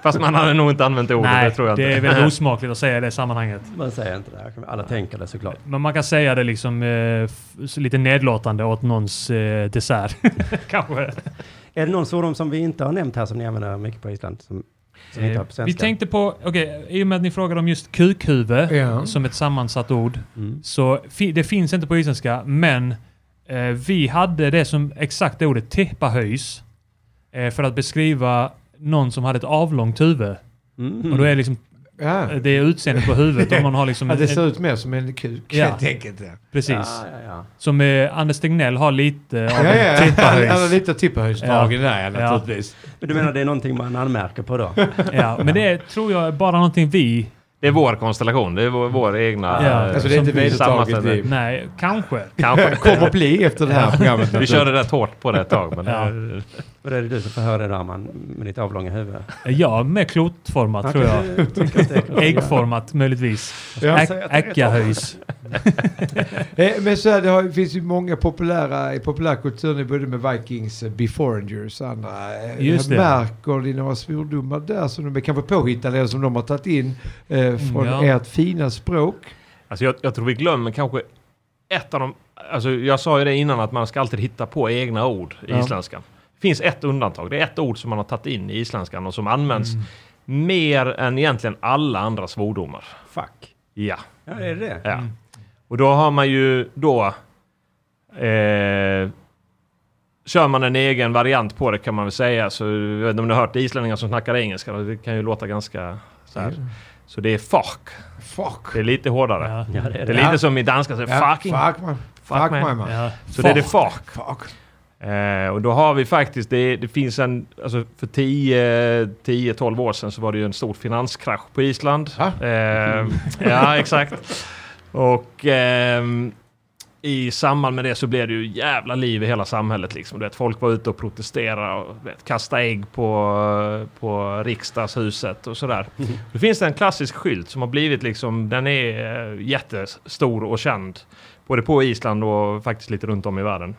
S6: Fast man hade nog inte använt det ordet,
S5: Nej,
S6: det tror jag
S5: det
S6: inte.
S5: är
S6: [laughs]
S5: väldigt osmakligt att säga det i sammanhanget.
S3: Man säger inte det. här. Alla tänker det såklart.
S5: Men man kan säga det liksom eh, f- så lite nedlåtande åt någons eh, dessert. [laughs] Kanske.
S3: Är det någon svordom som vi inte har nämnt här som ni använder mycket på Island? Som, som Eh, vi inte har på
S5: Eh, Vi
S3: svenska?
S5: tänkte på, okej, i och med att ni frågade om just kukhuvud
S4: Ja.
S5: som ett sammansatt ord.
S3: Mm.
S5: Så fi, det finns inte på isländska, men eh, vi hade det som exakt det ordet tippahöjs eh, för att beskriva någon som hade ett avlångt huvud.
S3: Mhm.
S5: Och då är det liksom
S4: Ja.
S5: det är utseendet på huvudet om man
S4: [laughs]
S5: har liksom...
S4: Att det ser
S5: en,
S4: ut mer som en kuk
S5: Ja.
S4: helt enkelt. Ja,
S5: precis.
S3: Ja, ja, ja.
S5: Som eh, Anders Tegnell har lite av
S4: ja,
S5: en
S4: [laughs] ja. Han har
S5: tippahöjs.
S4: lite tippahöjdsdragen där ja,
S5: Ja.
S4: naturligtvis.
S3: Men du menar det är någonting man anmärker på då?
S5: ja, men det är, tror jag är bara någonting vi...
S6: Det är vår konstellation, det är vår, vår egna...
S5: Ja.
S6: eh,
S4: Alltså det är inte
S5: Som
S4: vedertaget.
S6: sammansätter-
S4: Det
S5: Nej, [laughs] kanske.
S6: Kanske.
S4: kommer bli efter det här programmet.
S6: [laughs] Vi körde rätt hårt på det ett tag. Men
S5: Ja.
S6: eh,
S3: Och det är det du som får höra det där man med ditt avlånga huvud.
S5: Ja, med klotformat tror jag. Äggformat möjligtvis.
S4: Ja.
S5: Äck- Äckahöjs.
S4: Eh, Men så här, det har, det finns ju många populära i populärkulturen, både med Vikings, eh, Beforengers och andra. Eh,
S5: Just det.
S4: Märker ni några svordomar där som de är kanske påhittade eller som de har tagit in eh, från
S5: Ja.
S4: ert fina språk?
S6: alltså jag, jag tror vi glömmer kanske ett av de... Alltså jag sa ju det innan att man ska alltid hitta på egna ord i
S4: Ja.
S6: isländskan. Det finns ett undantag. Det är ett ord som man har tagit in i isländskan och som används mer än egentligen alla andra svordomar.
S3: Fuck.
S6: Ja.
S3: Ja, det är det.
S6: ja. Och då har man ju då... Eh, kör man en egen variant på det kan man väl säga. Så, jag vet inte om ni har hört islänningar som snackar engelska. Det kan ju låta ganska så här. Så det är fuck.
S4: Fuck.
S6: Det är lite hårdare.
S5: Ja.
S3: Ja, det är
S6: Det
S3: det.
S6: är lite som i danska, så
S4: Ja,
S6: fucking.
S4: fuck man. Fuck,
S6: Fuck,
S4: man.
S6: man.
S4: man.
S5: Ja.
S6: Så det är det fuck.
S4: Fuck.
S6: Eh, och då har vi faktiskt, det, det finns en, alltså för 10-12 år sedan så var det ju en stor finanskrasch på Island.
S4: Va?
S6: Eh, ja, exakt. Och ehm, i samband med det så blev det ju jävla liv i hela samhället liksom. Du vet, folk var ute och protesterade och du vet, kastade ägg på, på riksdagshuset och sådär. Då finns det en klassisk skylt som har blivit liksom, den är eh, jättestor och känd. Både på Island och faktiskt lite runt om i världen.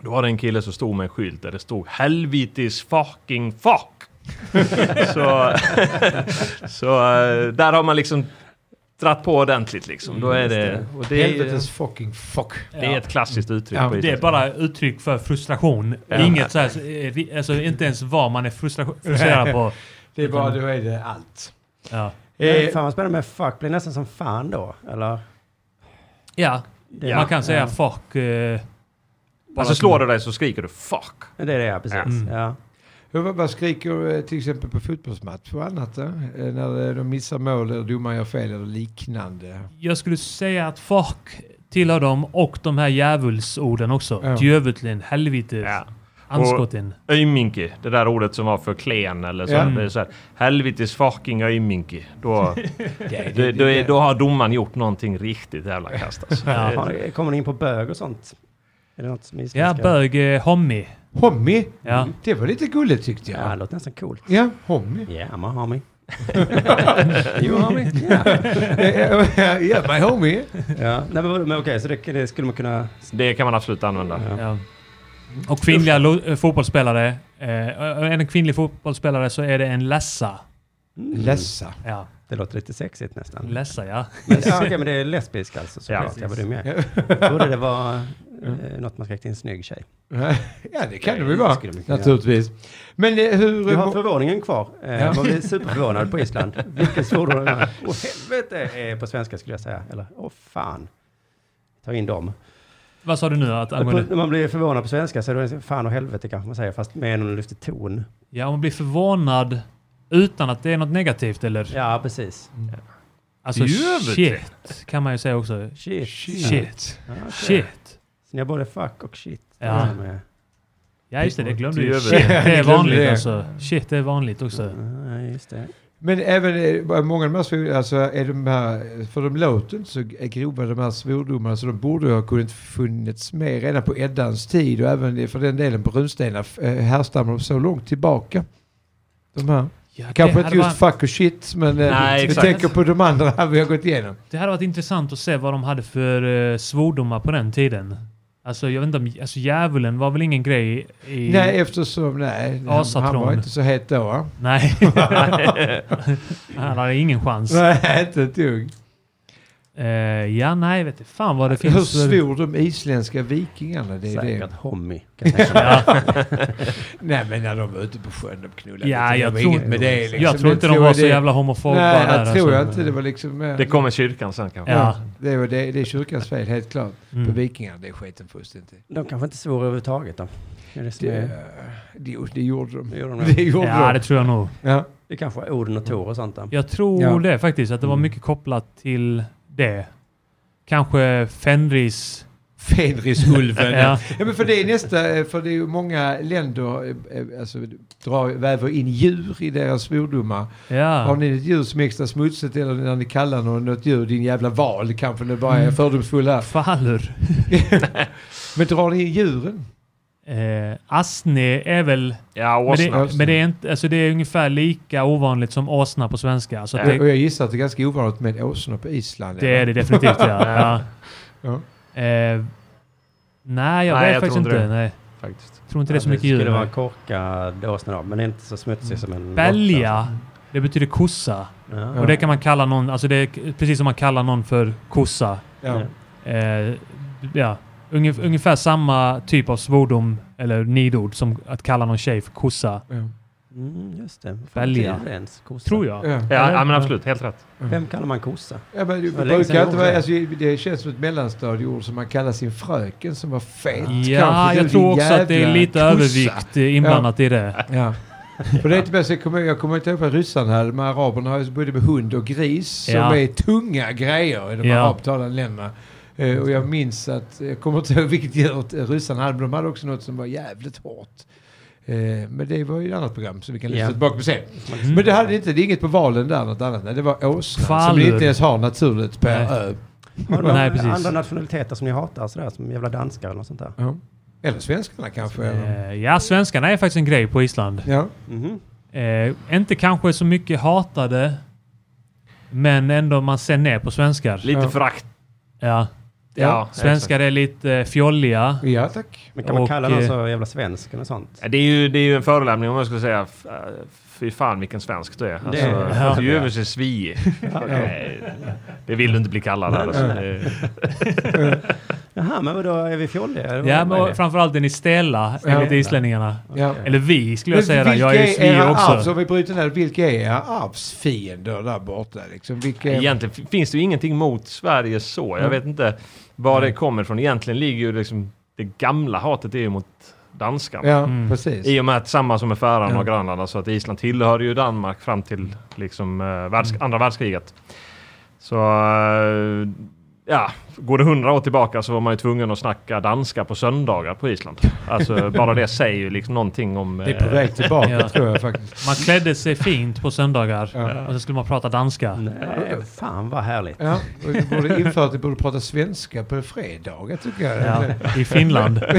S6: Då var det en kille som stod med en skylt där det stod Helvitis fucking fuck. [laughs] så [laughs] så eh, där har man liksom dratt på ordentligt liksom. Då är det, och det, är,
S4: Helvetes fucking fuck.
S6: det är ett klassiskt uttryck.
S4: Ja,
S6: på
S5: Det är
S6: isländska.
S5: bara uttryck för frustration.
S6: Ja.
S5: Inget så här, eh, ri- alltså inte ens vad man är frustra- frustrerad på.
S4: Det är bara, då är det allt.
S5: Ja.
S3: Men
S4: Eh,
S3: Fan vad spännande med fuck. Blir nästan som fan då? Eller?
S5: ja,
S3: Det,
S5: man kan säga fuck. Eh,
S6: Alltså slår du dig så skriker du fuck.
S3: Det är det, ja. Precis.
S5: Mm.
S3: Ja.
S4: hur- vad vad skriker eh, till exempel på fotbollsmatch och annat? Eh? Eh, När eh, de missar mål eller domaren gör fel eller liknande.
S5: jag skulle säga att fuck tillhör dem och de här djävulsorden också.
S4: Ja.
S5: Djövutlin, helvete,
S6: Ja.
S5: anskotin.
S6: Öjminki, det där ordet som var för klen eller så.
S4: Ja.
S6: Det är så här, Helvites fucking öjminki. Då,
S4: Det,
S6: då, då, är- då har domaren gjort någonting riktigt jävla kast alltså.
S5: Ja.
S6: Det-
S3: Har, kommer ni in på bög och sånt? Är det något som ni
S5: Ja,
S3: ska-
S5: bög, eh, homie.
S4: Hommi,
S5: Ja.
S4: det var lite gulligt tyckte
S3: Ja, det
S4: jag.
S3: låter nästan coolt.
S4: Ja,
S3: [laughs]
S4: hommi.
S3: Ja, yeah, man har mig. you har mig. Ja.
S4: ja, my homie.
S3: Ja. Nej, men, men okej, så det, det skulle man kunna...
S6: Det kan man absolut använda.
S5: Ja. Och kvinnliga lo- eh, fotbollsspelare. Eh, är en kvinnlig fotbollsspelare så är det en lessa.
S4: Lessa.
S5: Ja,
S3: Mm. Det låter lite sexigt nästan.
S5: lessa ja.
S3: Men, ja, okej, men det är lesbisk alltså. Så
S6: Ja.
S3: ja, jag var dum jag är. Jag trodde det var eh, något man skrev till en snygg tjej.
S4: Ja, det kan det
S3: Nej,
S4: väl
S3: det
S4: vara.
S3: skulle man kunna
S4: Naturligtvis. Men eh, hur...
S3: Du har förvåningen kvar. Eh, man blir superförvånad på [laughs] Island. Vilken svordom det är. Åh helvete är på svenska skulle jag säga. Eller åh fan. Ta in dem.
S5: Vad sa du nu? Att
S3: På,
S5: angående,
S3: när man blir förvånad på svenska så är det fan och helvete kanske man säger. Fast med en lyfter ton.
S5: ja, man blir förvånad utan att det är något negativt eller?
S3: Ja precis.
S5: Alltså
S6: Djövuligt.
S5: shit kan man ju säga också.
S3: Shit.
S5: Shit.
S3: Ja, okej.
S5: Shit.
S3: Så ni har både fuck och shit.
S5: Ja.
S3: Mm,
S5: Ja just det, det glömde du.
S6: Djövuligt.
S5: Shit, det är
S4: glömde
S5: vanligt
S4: det.
S5: alltså. Shit, det är vanligt också.
S3: Ja, just det.
S4: Men även eh, vad många av de här svordomarna, alltså är de här, för de låter inte så grova de här svordomarna så de borde ju ha kunnat funnits med redan på Eddans tid och även eh, för den delen på runstenarna f- eh, härstammar de så långt tillbaka. De här.
S5: Ja,
S4: Kanske
S5: det
S4: inte
S5: hade
S4: just
S5: varit-
S4: fuck och shit men eh,
S6: Nej,
S4: vi
S6: exakt.
S4: tänker på de andra här vi har gått igenom.
S5: Det hade varit intressant att se vad de hade för eh, svordomar på den tiden. Alltså jag vet inte om, alltså djävulen var väl ingen grej i...
S4: Nej, eftersom nej, han, han
S5: Asatron.
S4: var inte så het då. va? [laughs]
S5: Nej. Han hade ingen chans.
S4: Nej, inte ett dugg.
S5: Eh, ja, nej vet du. Fan vad det finns.
S4: Hur
S5: för-
S4: svor de isländska vikingarna? Det är
S3: Säkert
S4: det.
S3: hommy. kan jag tänka mig.
S4: Nej, men när de var ute på sjön och knullade.
S5: Ja,
S4: lite,
S5: jag
S4: det var
S5: tror-
S4: inget med det. Liksom.
S5: Jag tror inte de var så
S4: det-
S5: jävla homofoba
S4: Nej,
S5: där.
S4: jag tror jag
S5: alltså.
S4: inte. Det var liksom... eh,
S6: Det kommer kyrkan sen kanske.
S5: Ja.
S4: Det, var det, det är kyrkans fel, helt klart. På
S5: Mm.
S4: vikingarna, det är skiten först inte.
S3: De kanske inte svor överhuvudtaget då. Det, är det, som
S4: Det, eh,
S3: är,
S4: det, det gjorde de.
S3: det, gjorde de
S4: Det
S3: det.
S4: gjorde
S5: Ja,
S4: de.
S5: det tror jag nog. [laughs]
S4: Ja.
S3: det kanske var Oden
S5: Mm.
S3: och Tor och sånt där.
S5: Jag tror
S4: Ja. Mm.
S5: det faktiskt, att det var mycket kopplat till det. Kanske Fenris.
S4: Fenrisulven.
S5: Ja.
S4: ja. men för det är nästa, eh, för det är ju många länder, eh, eh, alltså drar, väver in djur i deras svordomar. Har
S5: Ja.
S4: ni ett djur som är extra smutsigt eller när ni kallar något, något djur, din jävla val, kanske det bara är
S5: Mm.
S4: fördomsfull här.
S5: Falur.
S4: Men drar ni in djuren?
S5: Eh, Asne är väl...
S6: Ja,
S5: Men det,
S6: åsna.
S4: Åsna.
S5: men det är inte, alltså det är ungefär lika ovanligt som åsna på svenska. Så att
S4: Och
S5: det,
S4: jag gissar att det är ganska ovanligt med åsnor på Island.
S5: det är det definitivt ja. ja. Eh, nej, jag
S6: Nej,
S5: vet
S6: jag
S5: faktiskt
S6: tror inte
S5: inte.
S6: det.
S5: Nej,
S6: Faktiskt.
S5: tror inte det är så mycket djur.
S3: skulle vara
S5: nej.
S3: en korkad åsna då, men det är inte så smutsig som en råtta,
S5: Belja, det betyder kossa.
S3: alltså.
S5: Och det kan man kalla någon, alltså det är k- precis som man kallar någon för kossa.
S4: Ja.
S5: Eh, ja, ungef- ungefär samma typ av svordom eller nidord som att kalla någon tjej för kossa.
S4: Ja.
S3: Ja. Mm, just det. Fan,
S5: Belja.
S3: det är det ens, kossa.
S5: Tror jag.
S4: Ja.
S6: Ja, ja, men absolut. Helt rätt.
S3: Vem kallar man kossa?
S4: Ja, men det
S3: var länge sedan
S4: brukar inte
S3: jag
S4: vara,
S3: åkte.
S4: alltså, det känns som ett mellanstadieord som man kallar sin fröken som var fet.
S5: Ja,
S4: Kanske du,
S5: jag tror
S4: din
S5: också att det är
S4: jävla
S5: lite
S4: kossa.
S5: övervikt eh, inblandat i det.
S4: Ja. [laughs] För det är inte bäst, jag kommer, jag kommer inte ihåg vad ryssarna hade, men araberna har ju både med hund och gris
S5: Ja.
S4: som är tunga grejer i de
S5: Ja.
S4: arabtalande länderna. Eh, och jag minns att, jag kommer inte ihåg vilket djur ryssarna hade, men de hade också något som var jävligt hårt. Eh, men det var ju ett annat program som vi kan lyssna
S3: Ja. Mm.
S4: tillbaka på sen.
S5: Mm.
S4: Men det hade inte, det är inget på valen där, något annat. Nej, det var åsnan som ni
S5: Falun.
S4: inte ens har naturligt på
S5: Nej.
S4: er ö.
S3: Har de
S5: Nej, precis.
S3: andra nationaliteter som ni hatar sådär, som jävla danskar eller något sånt där?
S4: Ja. Eller svenskarna kanske. eller?
S5: Eh, Ja, svenskarna är faktiskt en grej på Island.
S4: Ja.
S3: Mhm.
S5: Eh, inte kanske så mycket hatade, men ändå man ser ner på svenskar.
S6: Lite
S4: Ja.
S6: förakt.
S5: Ja.
S6: Ja,
S5: Svenskar är lite eh, fjolliga.
S4: ja, tack.
S3: Men kan man
S5: Och,
S3: kalla någon
S5: eh,
S3: så jävla svensk eller sånt?
S6: Ja, det, är ju, det är ju en förolämpning om jag skulle säga f- äh, fy fan vilken svensk du är. Alltså,
S3: Ja.
S6: Du är över sig svi. Nej, Det vill du inte bli kallad. Alltså. Det-
S3: Jaha, men vadå, är vi fjolliga? Eller vad
S5: Ja,
S3: är
S5: men och
S3: det?
S5: framförallt är ni stela enligt islänningarna.
S4: Ja.
S5: Eller vi skulle jag
S4: Men
S5: säga. där. Jag är ju
S4: vilka alltså-
S5: svi
S4: era Arvs,
S5: också.
S4: om vi bryter ner, vilka är era arvsfiender där borta? Liksom, vilka,
S6: Egentligen f- finns det ju ingenting mot Sverige så. Jag vet inte var det kommer ifrån. Egentligen ligger ju liksom det gamla hatet är ju mot danskarna.
S4: Ja,
S5: Mm.
S4: precis.
S6: I och med att samma som med Färöarna
S4: Ja.
S6: och Grönland, alltså att Island tillhörde ju Danmark fram till liksom, eh, världs-
S4: Mm.
S6: andra världskriget. Så eh, ja, går det hundra år tillbaka så var man ju tvungen att snacka danska på söndagar på Island.
S4: [laughs]
S6: Alltså bara det säger ju liksom någonting om...
S4: Det är på
S6: eh,
S4: väg tillbaka
S5: [laughs] Ja.
S4: tror jag faktiskt.
S5: Man klädde sig fint på söndagar
S4: Ja.
S5: och så skulle man prata danska.
S3: Nej, fan vad härligt.
S4: Ja, och vi borde införa att vi borde prata svenska på fredagar tycker jag.
S5: Ja, I Finland.
S4: [laughs]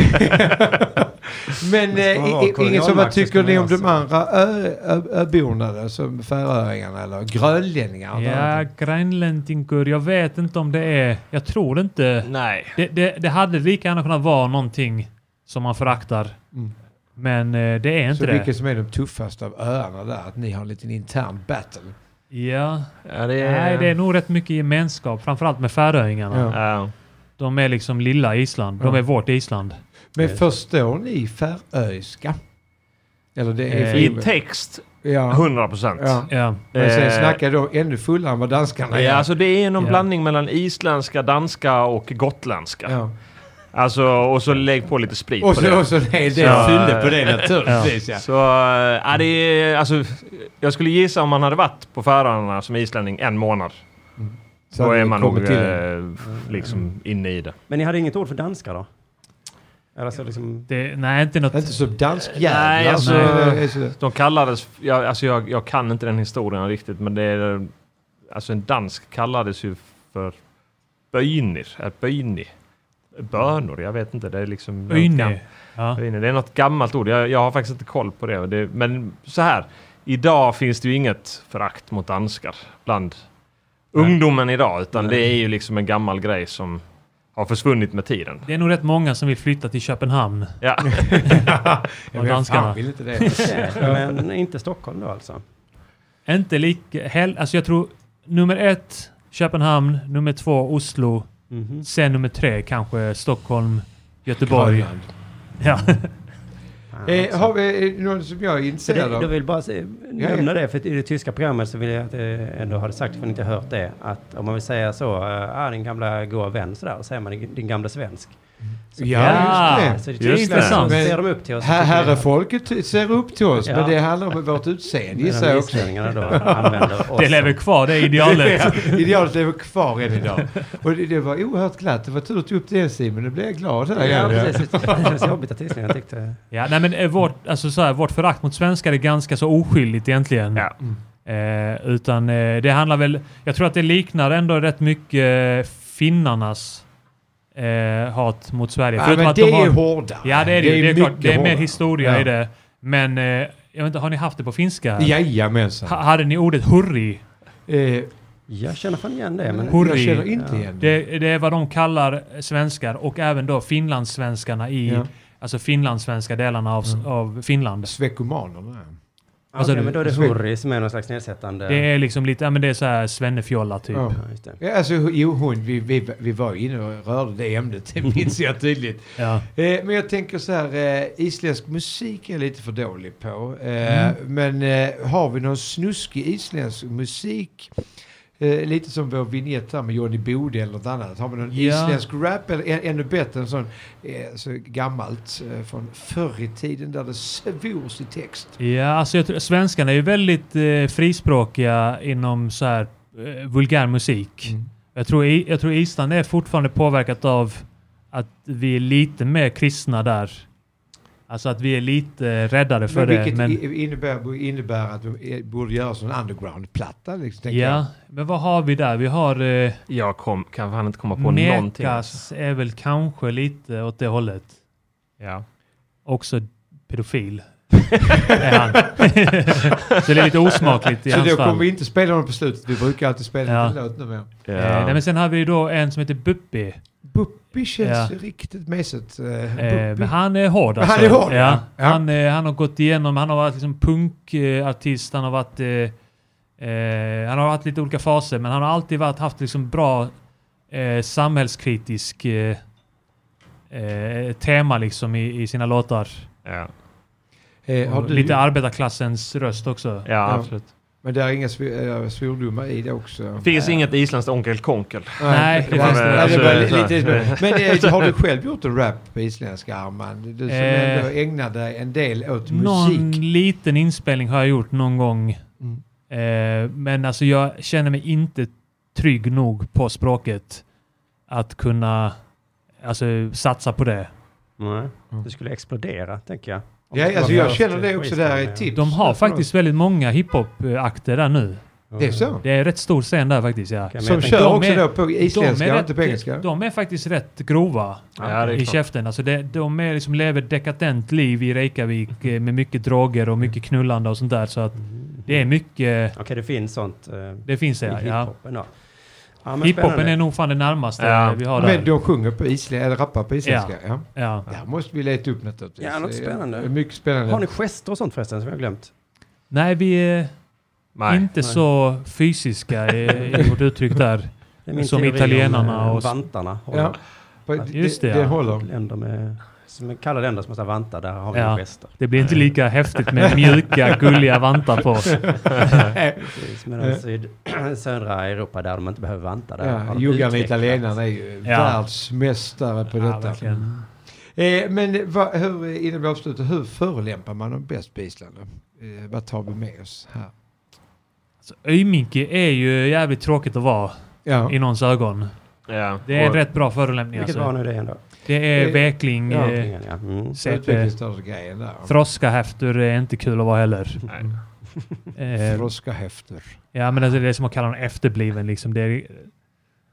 S4: Men
S3: Det ska
S4: eh,
S3: vara
S4: i- i- ingen som vad
S3: kolonialmakt,
S4: tycker
S3: det ska
S4: ni om
S3: man
S4: de andra ö- ö- öborna där, som färöingarna eller grönlänningarna? liksom.
S5: Ja,
S4: eller
S5: grönlänningur. Jag vet inte om det är... Jag tror det inte.
S6: Nej.
S5: Det, det, det hade lika gärna kunnat vara någonting som man föraktar.
S4: Mm.
S5: Men eh, det är
S4: någonting?
S5: inte
S4: Så
S5: det.
S4: vilka som är de tuffaste av öarna där? Att ni har en liten intern battle?
S5: Ja.
S6: Ja, det är,
S5: Nej, det är nog rätt mycket gemenskap. Framförallt med färöingarna.
S4: Ja.
S6: Ja.
S5: De är liksom lilla Island. De
S4: Ja.
S5: är vårt Island.
S4: Men
S3: Yes.
S4: förstår ni färöiska? Eller det
S5: Eh,
S4: är...
S6: I
S4: för-
S6: text,
S4: ja.
S6: 100 procent.
S4: ja.
S5: Ja.
S4: Men sen
S6: Eh,
S4: snackar de ännu fullare än vad danskarna
S6: Ja, alltså det är någon
S5: Ja.
S6: blandning mellan isländska, danska och gotländska.
S4: Ja.
S6: Alltså, och så lägg på lite sprit
S4: Och
S6: på det.
S4: så, och så nej, det
S6: Så-
S4: fyllde på det naturligtvis. Ja.
S6: Så eh, ja, det är, alltså, jag skulle gissa om man hade varit på Färöarna som islänning en månad.
S4: Så
S6: då
S4: hade
S6: är
S4: vi
S6: man nog
S4: kommit
S6: eh,
S4: till Mm. det.
S6: liksom inne i det.
S3: Men ni hade inget ord för danskar då? Eller så
S5: [laughs]
S3: liksom...
S5: Det, nej, inte något...
S4: Inte som
S6: Nej,
S4: danskjävlar.
S6: alltså-
S4: som är- är så-
S6: De kallades, jag, alltså jag, jag kan inte den historien riktigt, men det är, alltså en dansk kallades ju för böjnir, är böjni. Bönor, jag vet inte, det är liksom...
S5: Ynne. Ja.
S6: Böjnir, Det är något gammalt ord, jag, jag har faktiskt inte koll på det. det. Men så här, idag finns det ju inget förakt mot danskar bland ungdomen idag, utan det är ju liksom en gammal grej som har försvunnit med tiden.
S5: Det är nog rätt många som vill flytta till Köpenhamn.
S6: Ja.
S5: Och danskarna.
S4: vill inte det.
S3: Men inte Stockholm då alltså?
S5: Inte lika... Hell, alltså jag tror nummer ett Köpenhamn, nummer två Oslo,
S3: Mhm.
S5: sen nummer tre kanske Stockholm, Göteborg.
S4: Grönland.
S5: [laughs] Ja.
S3: Fan,
S4: Eh,
S3: alltså.
S4: har vi eh, någon som jag är
S3: Så
S4: intresserad
S3: det,
S4: av?
S3: jag vill bara se, nämna det, för i det tyska programmet så vill jag att, eh, ändå ha det sagt, för ni inte har hört det, att om man vill säga så, eh, ah, din gamla goa vän sådär, och säger man din din gamla svensk. Så-
S4: Ja, just det.
S3: Så det
S6: Just
S3: tyska så
S5: det.
S3: ser de upp till oss.
S4: Här, herrefolket ty- ser upp till oss,
S3: Ja.
S4: men det handlar om vårt utseende gissar
S3: Medan
S4: jag också.
S3: islänningarna då
S4: [laughs]
S3: använder oss.
S5: Det lever kvar, det är idealet.
S4: Idealet lever kvar än idag. Och det, det var oerhört glatt. Det var tur att du tog upp det Simon, nu blev jag glad här.
S3: Ja,
S4: igen.
S3: precis. Det känns jobbigt att islänningarna tyckte...
S5: Ja, nej men eh, vårt, alltså så här, vårt förakt mot svenskar är ganska så oskyldigt egentligen.
S6: Ja.
S5: Eh, utan eh, det handlar väl... Jag tror att det liknar ändå rätt mycket eh, finnarnas eh, hat mot Sverige.
S4: Ja,
S5: Förutom
S4: men
S5: att
S4: det
S5: de har-
S4: är hårdare.
S5: Ja, det är det, ju. det är klart.
S4: mycket
S5: Det är mer
S4: hårdare.
S5: historia
S4: Ja.
S5: i det. Men eh, jag vet inte, har ni haft det på finska?
S4: Jajamensan.
S5: Ha, hade ni ordet hurri?
S4: Eh,
S3: Jag känner fan igen det, men...
S5: Hurri.
S4: jag känner inte
S3: Ja.
S4: igen det.
S5: Det, det är vad de kallar svenskar och även då finlandssvenskarna i
S4: Ja. Mm.
S5: alltså finlandssvenska delarna av, av Finland.
S4: Svekomanerna.
S5: Alltså,
S3: Okej, men då är det
S4: Sven-
S3: hurri som är någon slags nedsättande...
S5: Det är liksom lite, ja men det är så här svennefjolla typ.
S4: Ja.
S3: Ja, just det.
S4: Ja, Alltså, jo, hon, vi, vi, vi var ju inne och rörde det ämnet, det
S5: [laughs]
S4: minns jag tydligt.
S5: Ja.
S4: Eh, men jag tänker så här, eh, isländsk musik är jag lite för dålig på. Eh,
S5: Mm.
S4: Men eh, har vi någon snuskig isländsk musik? Eh, lite som vår vignett här med Johnny Bode eller något annat. Har vi någon
S5: Ja.
S4: isländsk rap eller ä- ännu bättre en sån eh, så gammalt eh, från förr i tiden där det svors i text?
S5: Ja, alltså jag tror, svenskarna är ju väldigt eh, frispråkiga inom så här eh, vulgär musik.
S4: Mm.
S5: Jag, tror, i- jag tror Island är fortfarande påverkat av att vi är lite mer kristna där. Alltså att vi är lite räddare för
S4: Men
S5: det.
S4: vilket
S5: men,
S4: i- innebär, innebär att de eh, borde göra en underground-platta. Liksom, tänker
S5: ja, men vad har vi där? Vi har eh,
S6: [laughs] Jag kom, kan fan inte komma på någonting.
S5: Nekas är väl kanske lite åt det hållet.
S6: Ja.
S5: Också
S4: [laughs]
S5: pedofil. är han. [laughs] så det är lite osmakligt i
S4: jag. Så
S5: hans
S4: då kommer
S5: fall.
S4: vi inte spela honom på slutet. Vi brukar alltid spela
S5: Ja.
S4: ja. en låt numera.
S5: Eh, nej, men sen har vi ju då en som heter Buppi.
S4: Buppi känns
S5: Ja.
S4: riktigt mesigt. Eh,
S5: Eh,
S4: Buppi.
S5: men han är hård alltså.
S4: Han är hård,
S5: ja.
S4: ja.
S5: Han, eh, han har gått igenom, han har varit liksom punkartist, han har varit... Eh, eh, han har haft lite olika faser, men han har alltid varit, haft liksom bra eh, samhällskritisk eh, eh, tema liksom i, i sina låtar.
S6: ja.
S4: Eh, har
S5: Och
S4: du,
S5: Lite arbetarklassens röst också.
S6: Ja, absolut.
S4: men det är inga svor, eh, svordomar i det också.
S6: Finns inget isländskt onkel Konkel?
S5: Nej, det
S4: det
S5: finns det.
S4: var, nej, det var
S6: Alltså,
S4: lite, lite, men eh, har du själv gjort en rap på isländska, Arman? Du som
S5: Eh,
S4: ändå ägnar dig en del åt
S5: Någon
S4: musik.
S5: liten inspelning har jag gjort någon gång.
S4: Mm.
S5: Eh, men alltså jag känner mig inte trygg nog på språket att kunna alltså, satsa på det.
S3: Nej. Det skulle explodera, tänker jag. Om
S4: Ja,
S3: det
S4: alltså,
S3: skulle
S4: jag
S3: vara
S4: känner
S3: först
S4: det
S3: på
S4: också. Det
S3: Island,
S4: här är
S3: ja.
S4: ett tips.
S5: De har faktiskt väldigt många hiphop-akter där nu.
S4: Det är så?
S5: Det är rätt stor scen där faktiskt. Ja.
S3: Kan jag
S4: Som
S3: tänka-
S4: kör
S5: de
S4: också
S5: är-
S4: då på
S5: de,
S4: isländska,
S5: är
S4: inte på engelska?
S5: rätt, de är faktiskt rätt grova
S6: Ja, det är
S5: i
S6: klart.
S5: käften. Alltså det, de är liksom lever ett dekadent liv i Reykjavik eh, med mycket droger och mycket knullande och sånt där. Så att det är mycket...
S3: Okej, det finns sånt eh,
S5: Det finns
S3: i
S5: det, ja.
S3: hiphopen då. Ja, men
S5: Hiphopen
S3: spännande.
S5: är nog fan det närmaste
S6: Ja.
S5: vi har där.
S4: Men de sjunger på isländska, eller rappar på isländska. Ja.
S5: Ja.
S4: Där måste vi leta upp naturligtvis.
S3: Ja, något
S4: Det är
S3: spännande.
S4: Mycket spännande.
S3: Har ni gester och sånt förresten som jag har glömt?
S5: Nej, vi eh, är
S6: Nej.
S5: inte så fysiska i, i vårt uttryck där.
S3: Det är min
S5: Som
S3: teori om,
S5: italienarna
S3: eh,
S5: och-
S3: vantarna. håller.
S4: Ja. På-
S5: Just det,
S4: det,
S5: ja.
S4: håller.
S3: Länder med, som kallar länder som måste ha vantar, där har vi
S5: Ja.
S3: ja. gester.
S5: Det blir inte lika häftigt med mjuka, gulliga vantar på oss.
S3: Precis, Medan syd, [clears throat] södra Europa där de inte behöver vantar, där har
S4: Eh. Ja,
S3: de
S4: Juggarna
S3: utvecklat.
S4: italienarna är ju
S5: Ja.
S4: världsmästare på
S5: Ja,
S4: detta.
S5: verkligen.
S4: eh, men vad, hur, innan vi avslutar, hur förolämpar man dem bäst på Island? då? Eh, vad tar vi med oss här?
S5: Alltså, Öjminki är ju jävligt tråkigt att vara
S4: Ja.
S5: i någons ögon.
S6: Ja.
S5: Det är en
S6: Och-
S5: rätt bra förolämpning
S3: Vilket var nu
S5: alltså.
S3: det ändå?
S5: Det är
S4: Eh,
S5: vekling,
S4: ja.
S5: eh,
S3: Ja. Mm.
S5: CP.
S4: Utvecklingsstörd-grejen där.
S5: Froskahäftur är inte kul att vara heller.
S6: Nej.
S5: [laughs] Eh,
S4: Froska häfter.
S5: ja, men alltså det är som att kalla en efterbliven liksom. Det,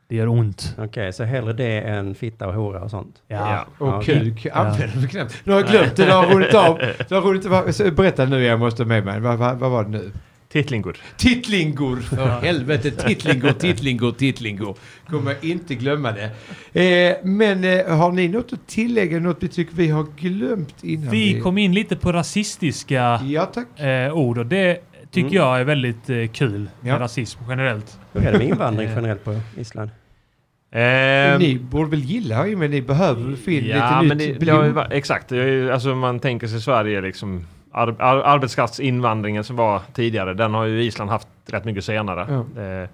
S5: det gör ont.
S3: Okej, så hellre det än fitta och hora och sånt?
S5: Ja.
S4: Och
S3: Ja,
S4: kuk använder vi knappt. Nu har jag glömt det, det har runnit av. Det har runnit av. Så Berätta nu, jag måste ha med mig. Vad, vad, vad var det nu?
S6: Tittlingur.
S4: Tittlingor, för helvete. Tittlingor, tittlingor, tittlingor. Kommer inte glömma det. Eh, men eh, har ni något att tillägga? Något vi tycker vi har glömt innan vi...
S5: Vi kom in lite på rasistiska
S4: Ja, tack.
S5: eh, ord och det tycker
S3: Mm.
S5: jag är väldigt eh, kul med
S4: Ja.
S5: rasism generellt.
S3: Hur är det med
S5: [laughs]
S3: invandring generellt på Island?
S6: Ehm,
S4: ni borde väl gilla ju, men ni behöver
S6: Alltså,
S4: väl få in
S6: ja,
S4: lite
S6: men
S4: nytt
S6: det, det har ju
S4: blod.
S6: va- Exakt. Det är ju- Alltså man tänker sig Sverige liksom. Ar, ar, arbetskraftsinvandringen som var tidigare, den har ju Island haft rätt mycket senare. Eh,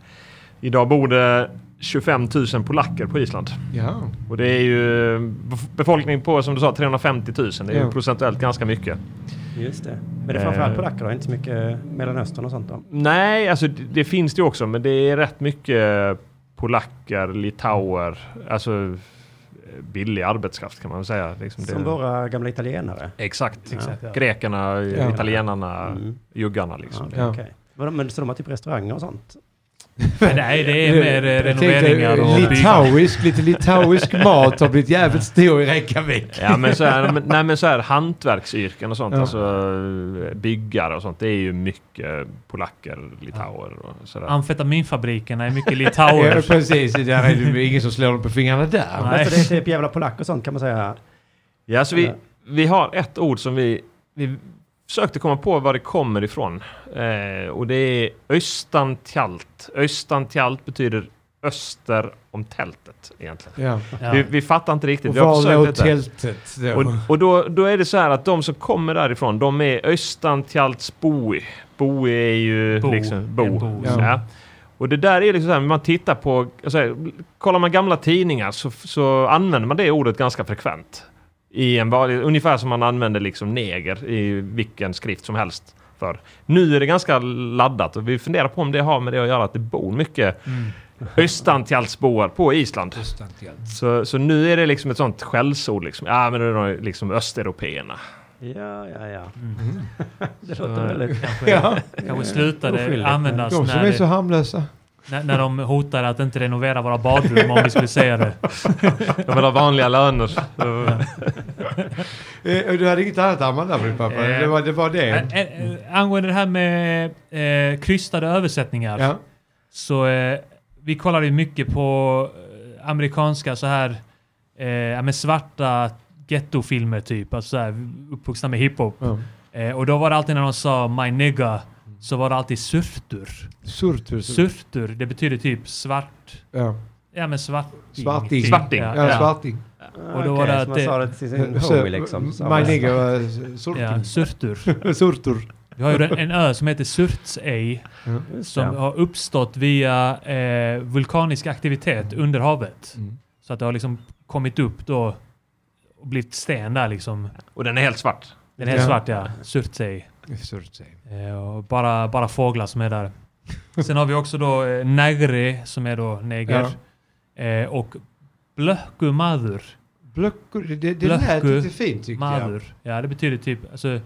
S6: idag bor det 25 000 polacker på Island.
S4: Ja.
S6: Och det är ju bef- befolkning på, som du sa, 350 000. Det är ju
S4: Ja.
S6: procentuellt ganska mycket.
S3: Just det. Men det är
S6: Eh.
S3: framförallt polacker då, inte så mycket eh, Mellanöstern och sånt då?
S6: Nej, alltså det, det finns det ju också, men det är rätt mycket polacker, litauer, alltså eh, billig arbetskraft kan man väl säga. Liksom
S3: Som
S6: det,
S3: våra gamla italienare?
S6: exakt.
S3: Exakt,
S5: ja.
S6: Grekerna,
S4: Ja.
S6: italienarna,
S3: Mm.
S6: juggarna liksom.
S3: Ja,
S4: Ja.
S3: okej. Vadå, Men så de har typ restauranger och sånt?
S5: Men nej, det är mer eh,
S4: Jag tänkte,
S5: renoveringar och byggnader.
S4: litauisk, lite litauisk mat har blivit jävligt stor i Reykjavik.
S6: Ja men så här, men- nej men så här hantverksyrken och sånt,
S4: Ja.
S6: alltså eh, byggare och sånt, det är ju mycket polacker, litauer och sådär.
S5: Amfetaminfabrikerna
S4: [laughs]
S5: är mycket
S4: Ja,
S5: litauer.
S4: precis. Där är det ingen som slår dem på fingrarna där.
S5: Nej.
S3: Alltså det är typ jävla polack och sånt kan man säga.
S6: Ja, så vi, vi har ett ord som vi, vi försökte komma på var det kommer ifrån. Eh, och det är östantjalt. Östantjalt betyder öster om tältet egentligen.
S4: Ja.
S5: Ja.
S6: Vi, vi fattar inte riktigt.
S4: Och
S6: Vi har
S4: var låg
S6: försökt detta.
S4: tältet då?
S6: Och, och då, då är det så här att de som kommer därifrån, de är Östantjaltsboi. Boi är ju
S5: Bo.
S6: liksom bo.
S5: En bo,
S6: Ja.
S4: ja.
S6: Och det där är liksom så här, man tittar på, alltså, kollar man gamla tidningar så, så använder man det ordet ganska frekvent. I en, vanlig- ungefär som man använder liksom neger i vilken skrift som helst. För. Nu är det ganska laddat och vi funderar på om det har med det att göra att det bor mycket
S5: Mm.
S6: Östantjaltsboar på Island.
S4: Östantjalt.
S6: Så, så nu är det liksom ett sånt skällsord. Liksom. Ja, men det är de liksom östeuropéerna.
S3: Ja, ja, ja.
S5: Mm.
S3: [laughs] Det
S6: Så-
S3: låter väldigt...
S5: Kanske,
S4: Ja,
S5: kanske slutade
S3: Oskyldigt.
S5: användas
S6: Alltså,
S4: de som
S5: när,
S4: är så
S5: det,
S4: harmlösa.
S5: när, när de hotade att inte renovera våra badrum om vi skulle
S4: [laughs]
S5: säga det.
S6: De vill ha
S5: [laughs]
S6: vanliga löner.
S4: Eh, och du hade inget annat armband där, min pappa?
S5: Eh,
S4: Det var det. Var det.
S5: Ä- ä- ä- Angående det här med eh, krystade översättningar.
S4: Ja.
S5: Så eh, vi kollade ju mycket på eh, amerikanska så här eh, ja, men svarta gettofilmer typ. Alltså så här, uppvuxna med hiphop.
S4: Ja.
S5: Eh, och då var det alltid när de sa my nigga så var det alltid surtur.
S4: Surtur.
S5: Surtur, det betyder typ svart.
S4: Ja.
S5: Ja men svarting.
S4: Svarting.
S5: typ.
S6: Svarting,
S5: Ja,
S4: Ja,
S5: ja.
S4: svarting.
S3: Och
S5: då var det att
S3: man
S5: det-
S3: sa det till sin
S4: Så,
S3: homie liksom. Så
S4: My
S3: man-
S4: nigger var
S5: Ja,
S4: eh, surtur. [laughs]
S5: surtur.
S4: Surtur.
S5: Vi har ju en, en ö som heter Surtsey som
S3: Ja.
S5: har uppstått via eh, vulkanisk aktivitet under havet. Så att det har liksom kommit upp då och blivit sten där liksom.
S6: Och den är helt svart.
S5: Den är helt
S4: Ja.
S5: svart ja, Surtsey.
S4: Surtur.
S5: Eh, och bara, bara fåglar som är där. Sen har vi också då eh, Nagri som är då neger. Eh, och Blöhkumadur.
S4: Blöckor. Det, det lät
S5: Blöckor.
S4: lite fint tyckte jag.
S5: Madur. Ja, det betyder typ... Alltså,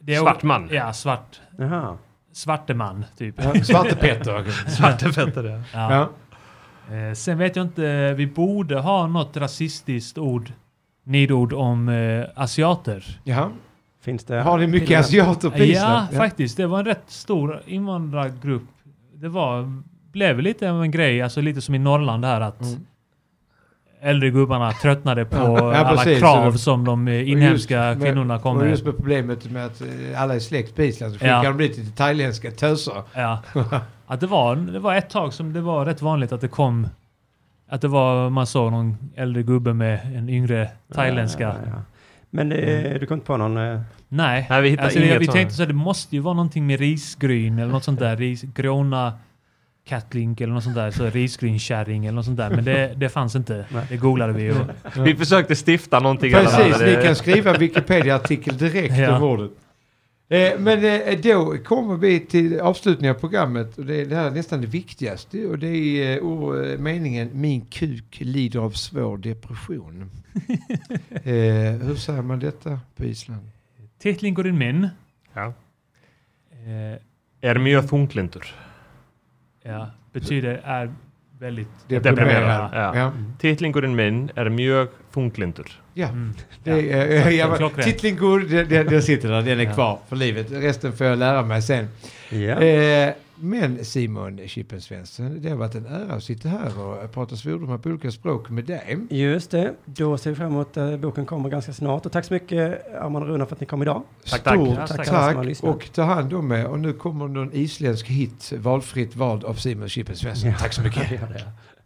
S5: det är-
S6: Svart man.
S5: Ja, svart.
S3: Jaha.
S5: Svarte man, typ.
S4: Ja, Svarte
S5: [laughs]
S4: Petter.
S6: [laughs] Svarte fötter, ja.
S5: Ja.
S4: Ja.
S5: Eh, sen vet jag inte, vi borde ha något rasistiskt ord, nidord om eh, asiater.
S4: Jaha.
S3: Finns det...
S4: Har ni
S3: till
S4: mycket
S3: och med-
S4: asiater på
S5: Ja,
S4: Island?
S5: faktiskt. Det var en rätt stor invandrargrupp. Det var, blev lite av en grej, alltså lite som i Norrland här att
S4: Mm.
S5: äldre gubbarna tröttnade
S4: [laughs]
S5: på
S4: Ja, ja,
S5: alla
S4: precis.
S5: krav
S4: Så de-
S5: som de eh,
S4: Och
S5: inhemska
S4: just med-
S5: kvinnorna kom
S4: Och
S5: med.
S4: just med problemet med att eh, alla är släkt på Island så
S5: Ja.
S4: skickar de dit lite thailändska töser. [laughs]
S5: Ja. Att det, var, det var ett tag som det var rätt vanligt att det kom... Att det var, man såg någon äldre gubbe med en yngre thailändska. Mm.
S3: Ja, ja, ja. Men eh, du kom inte på någon... eh,
S5: Nej.
S6: Nej, vi hittar
S5: alltså, vi,
S6: inget
S5: vi
S6: sånt.
S5: tänkte så här, det måste ju vara någonting med risgryn eller något sånt där. Ris, grona cattlink eller något sånt där. Så risgrynskärring eller något sånt där. Men det, det fanns
S6: [laughs]
S5: inte.
S3: Nej.
S5: Det googlade vi. Och,
S6: Vi försökte stifta någonting.
S4: Precis,
S6: annat.
S4: ni kan skriva en Wikipedia-artikel direkt
S5: Ja.
S4: om ordet. Eh, men eh, då kommer vi till avslutningen av programmet och det, är det här är nästan det viktigaste och det är eh, or, eh, meningen Min kuk lider av svår depression. eh, hur säger man detta på Island?
S5: Tittling går in min.
S6: Ja.
S5: Eh,
S6: Är det mjöfunklintur?
S5: ja, betyder är väldigt...
S4: Deprimerad.
S6: Ja.
S4: Ja.
S6: Titlingurinn min är Mjög Funklintur.
S4: Ja.
S5: mm.
S4: Det,
S5: Ja.
S4: är- eh, jag,
S5: Klockrent.
S4: Tittlingur, den, den, den sitter där, den är
S5: Ja.
S4: kvar för livet. Resten får jag lära mig sen.
S3: Ja.
S4: Eh, men Simon Chippen Svensson, det har varit en ära att sitta här och prata svordomar på olika språk med dig.
S3: Just det, då ser vi fram emot att boken kommer ganska snart. Och tack så mycket Arman och Runa för att ni kom idag.
S6: Tack, tack.
S4: Stort
S6: Ja,
S4: tack,
S3: tack alla som har lyssnat.
S4: och ta hand om er. Och nu kommer någon isländsk hit, valfritt vald av Simon Chippen Svensson. Tack så mycket.
S3: Ja, det är.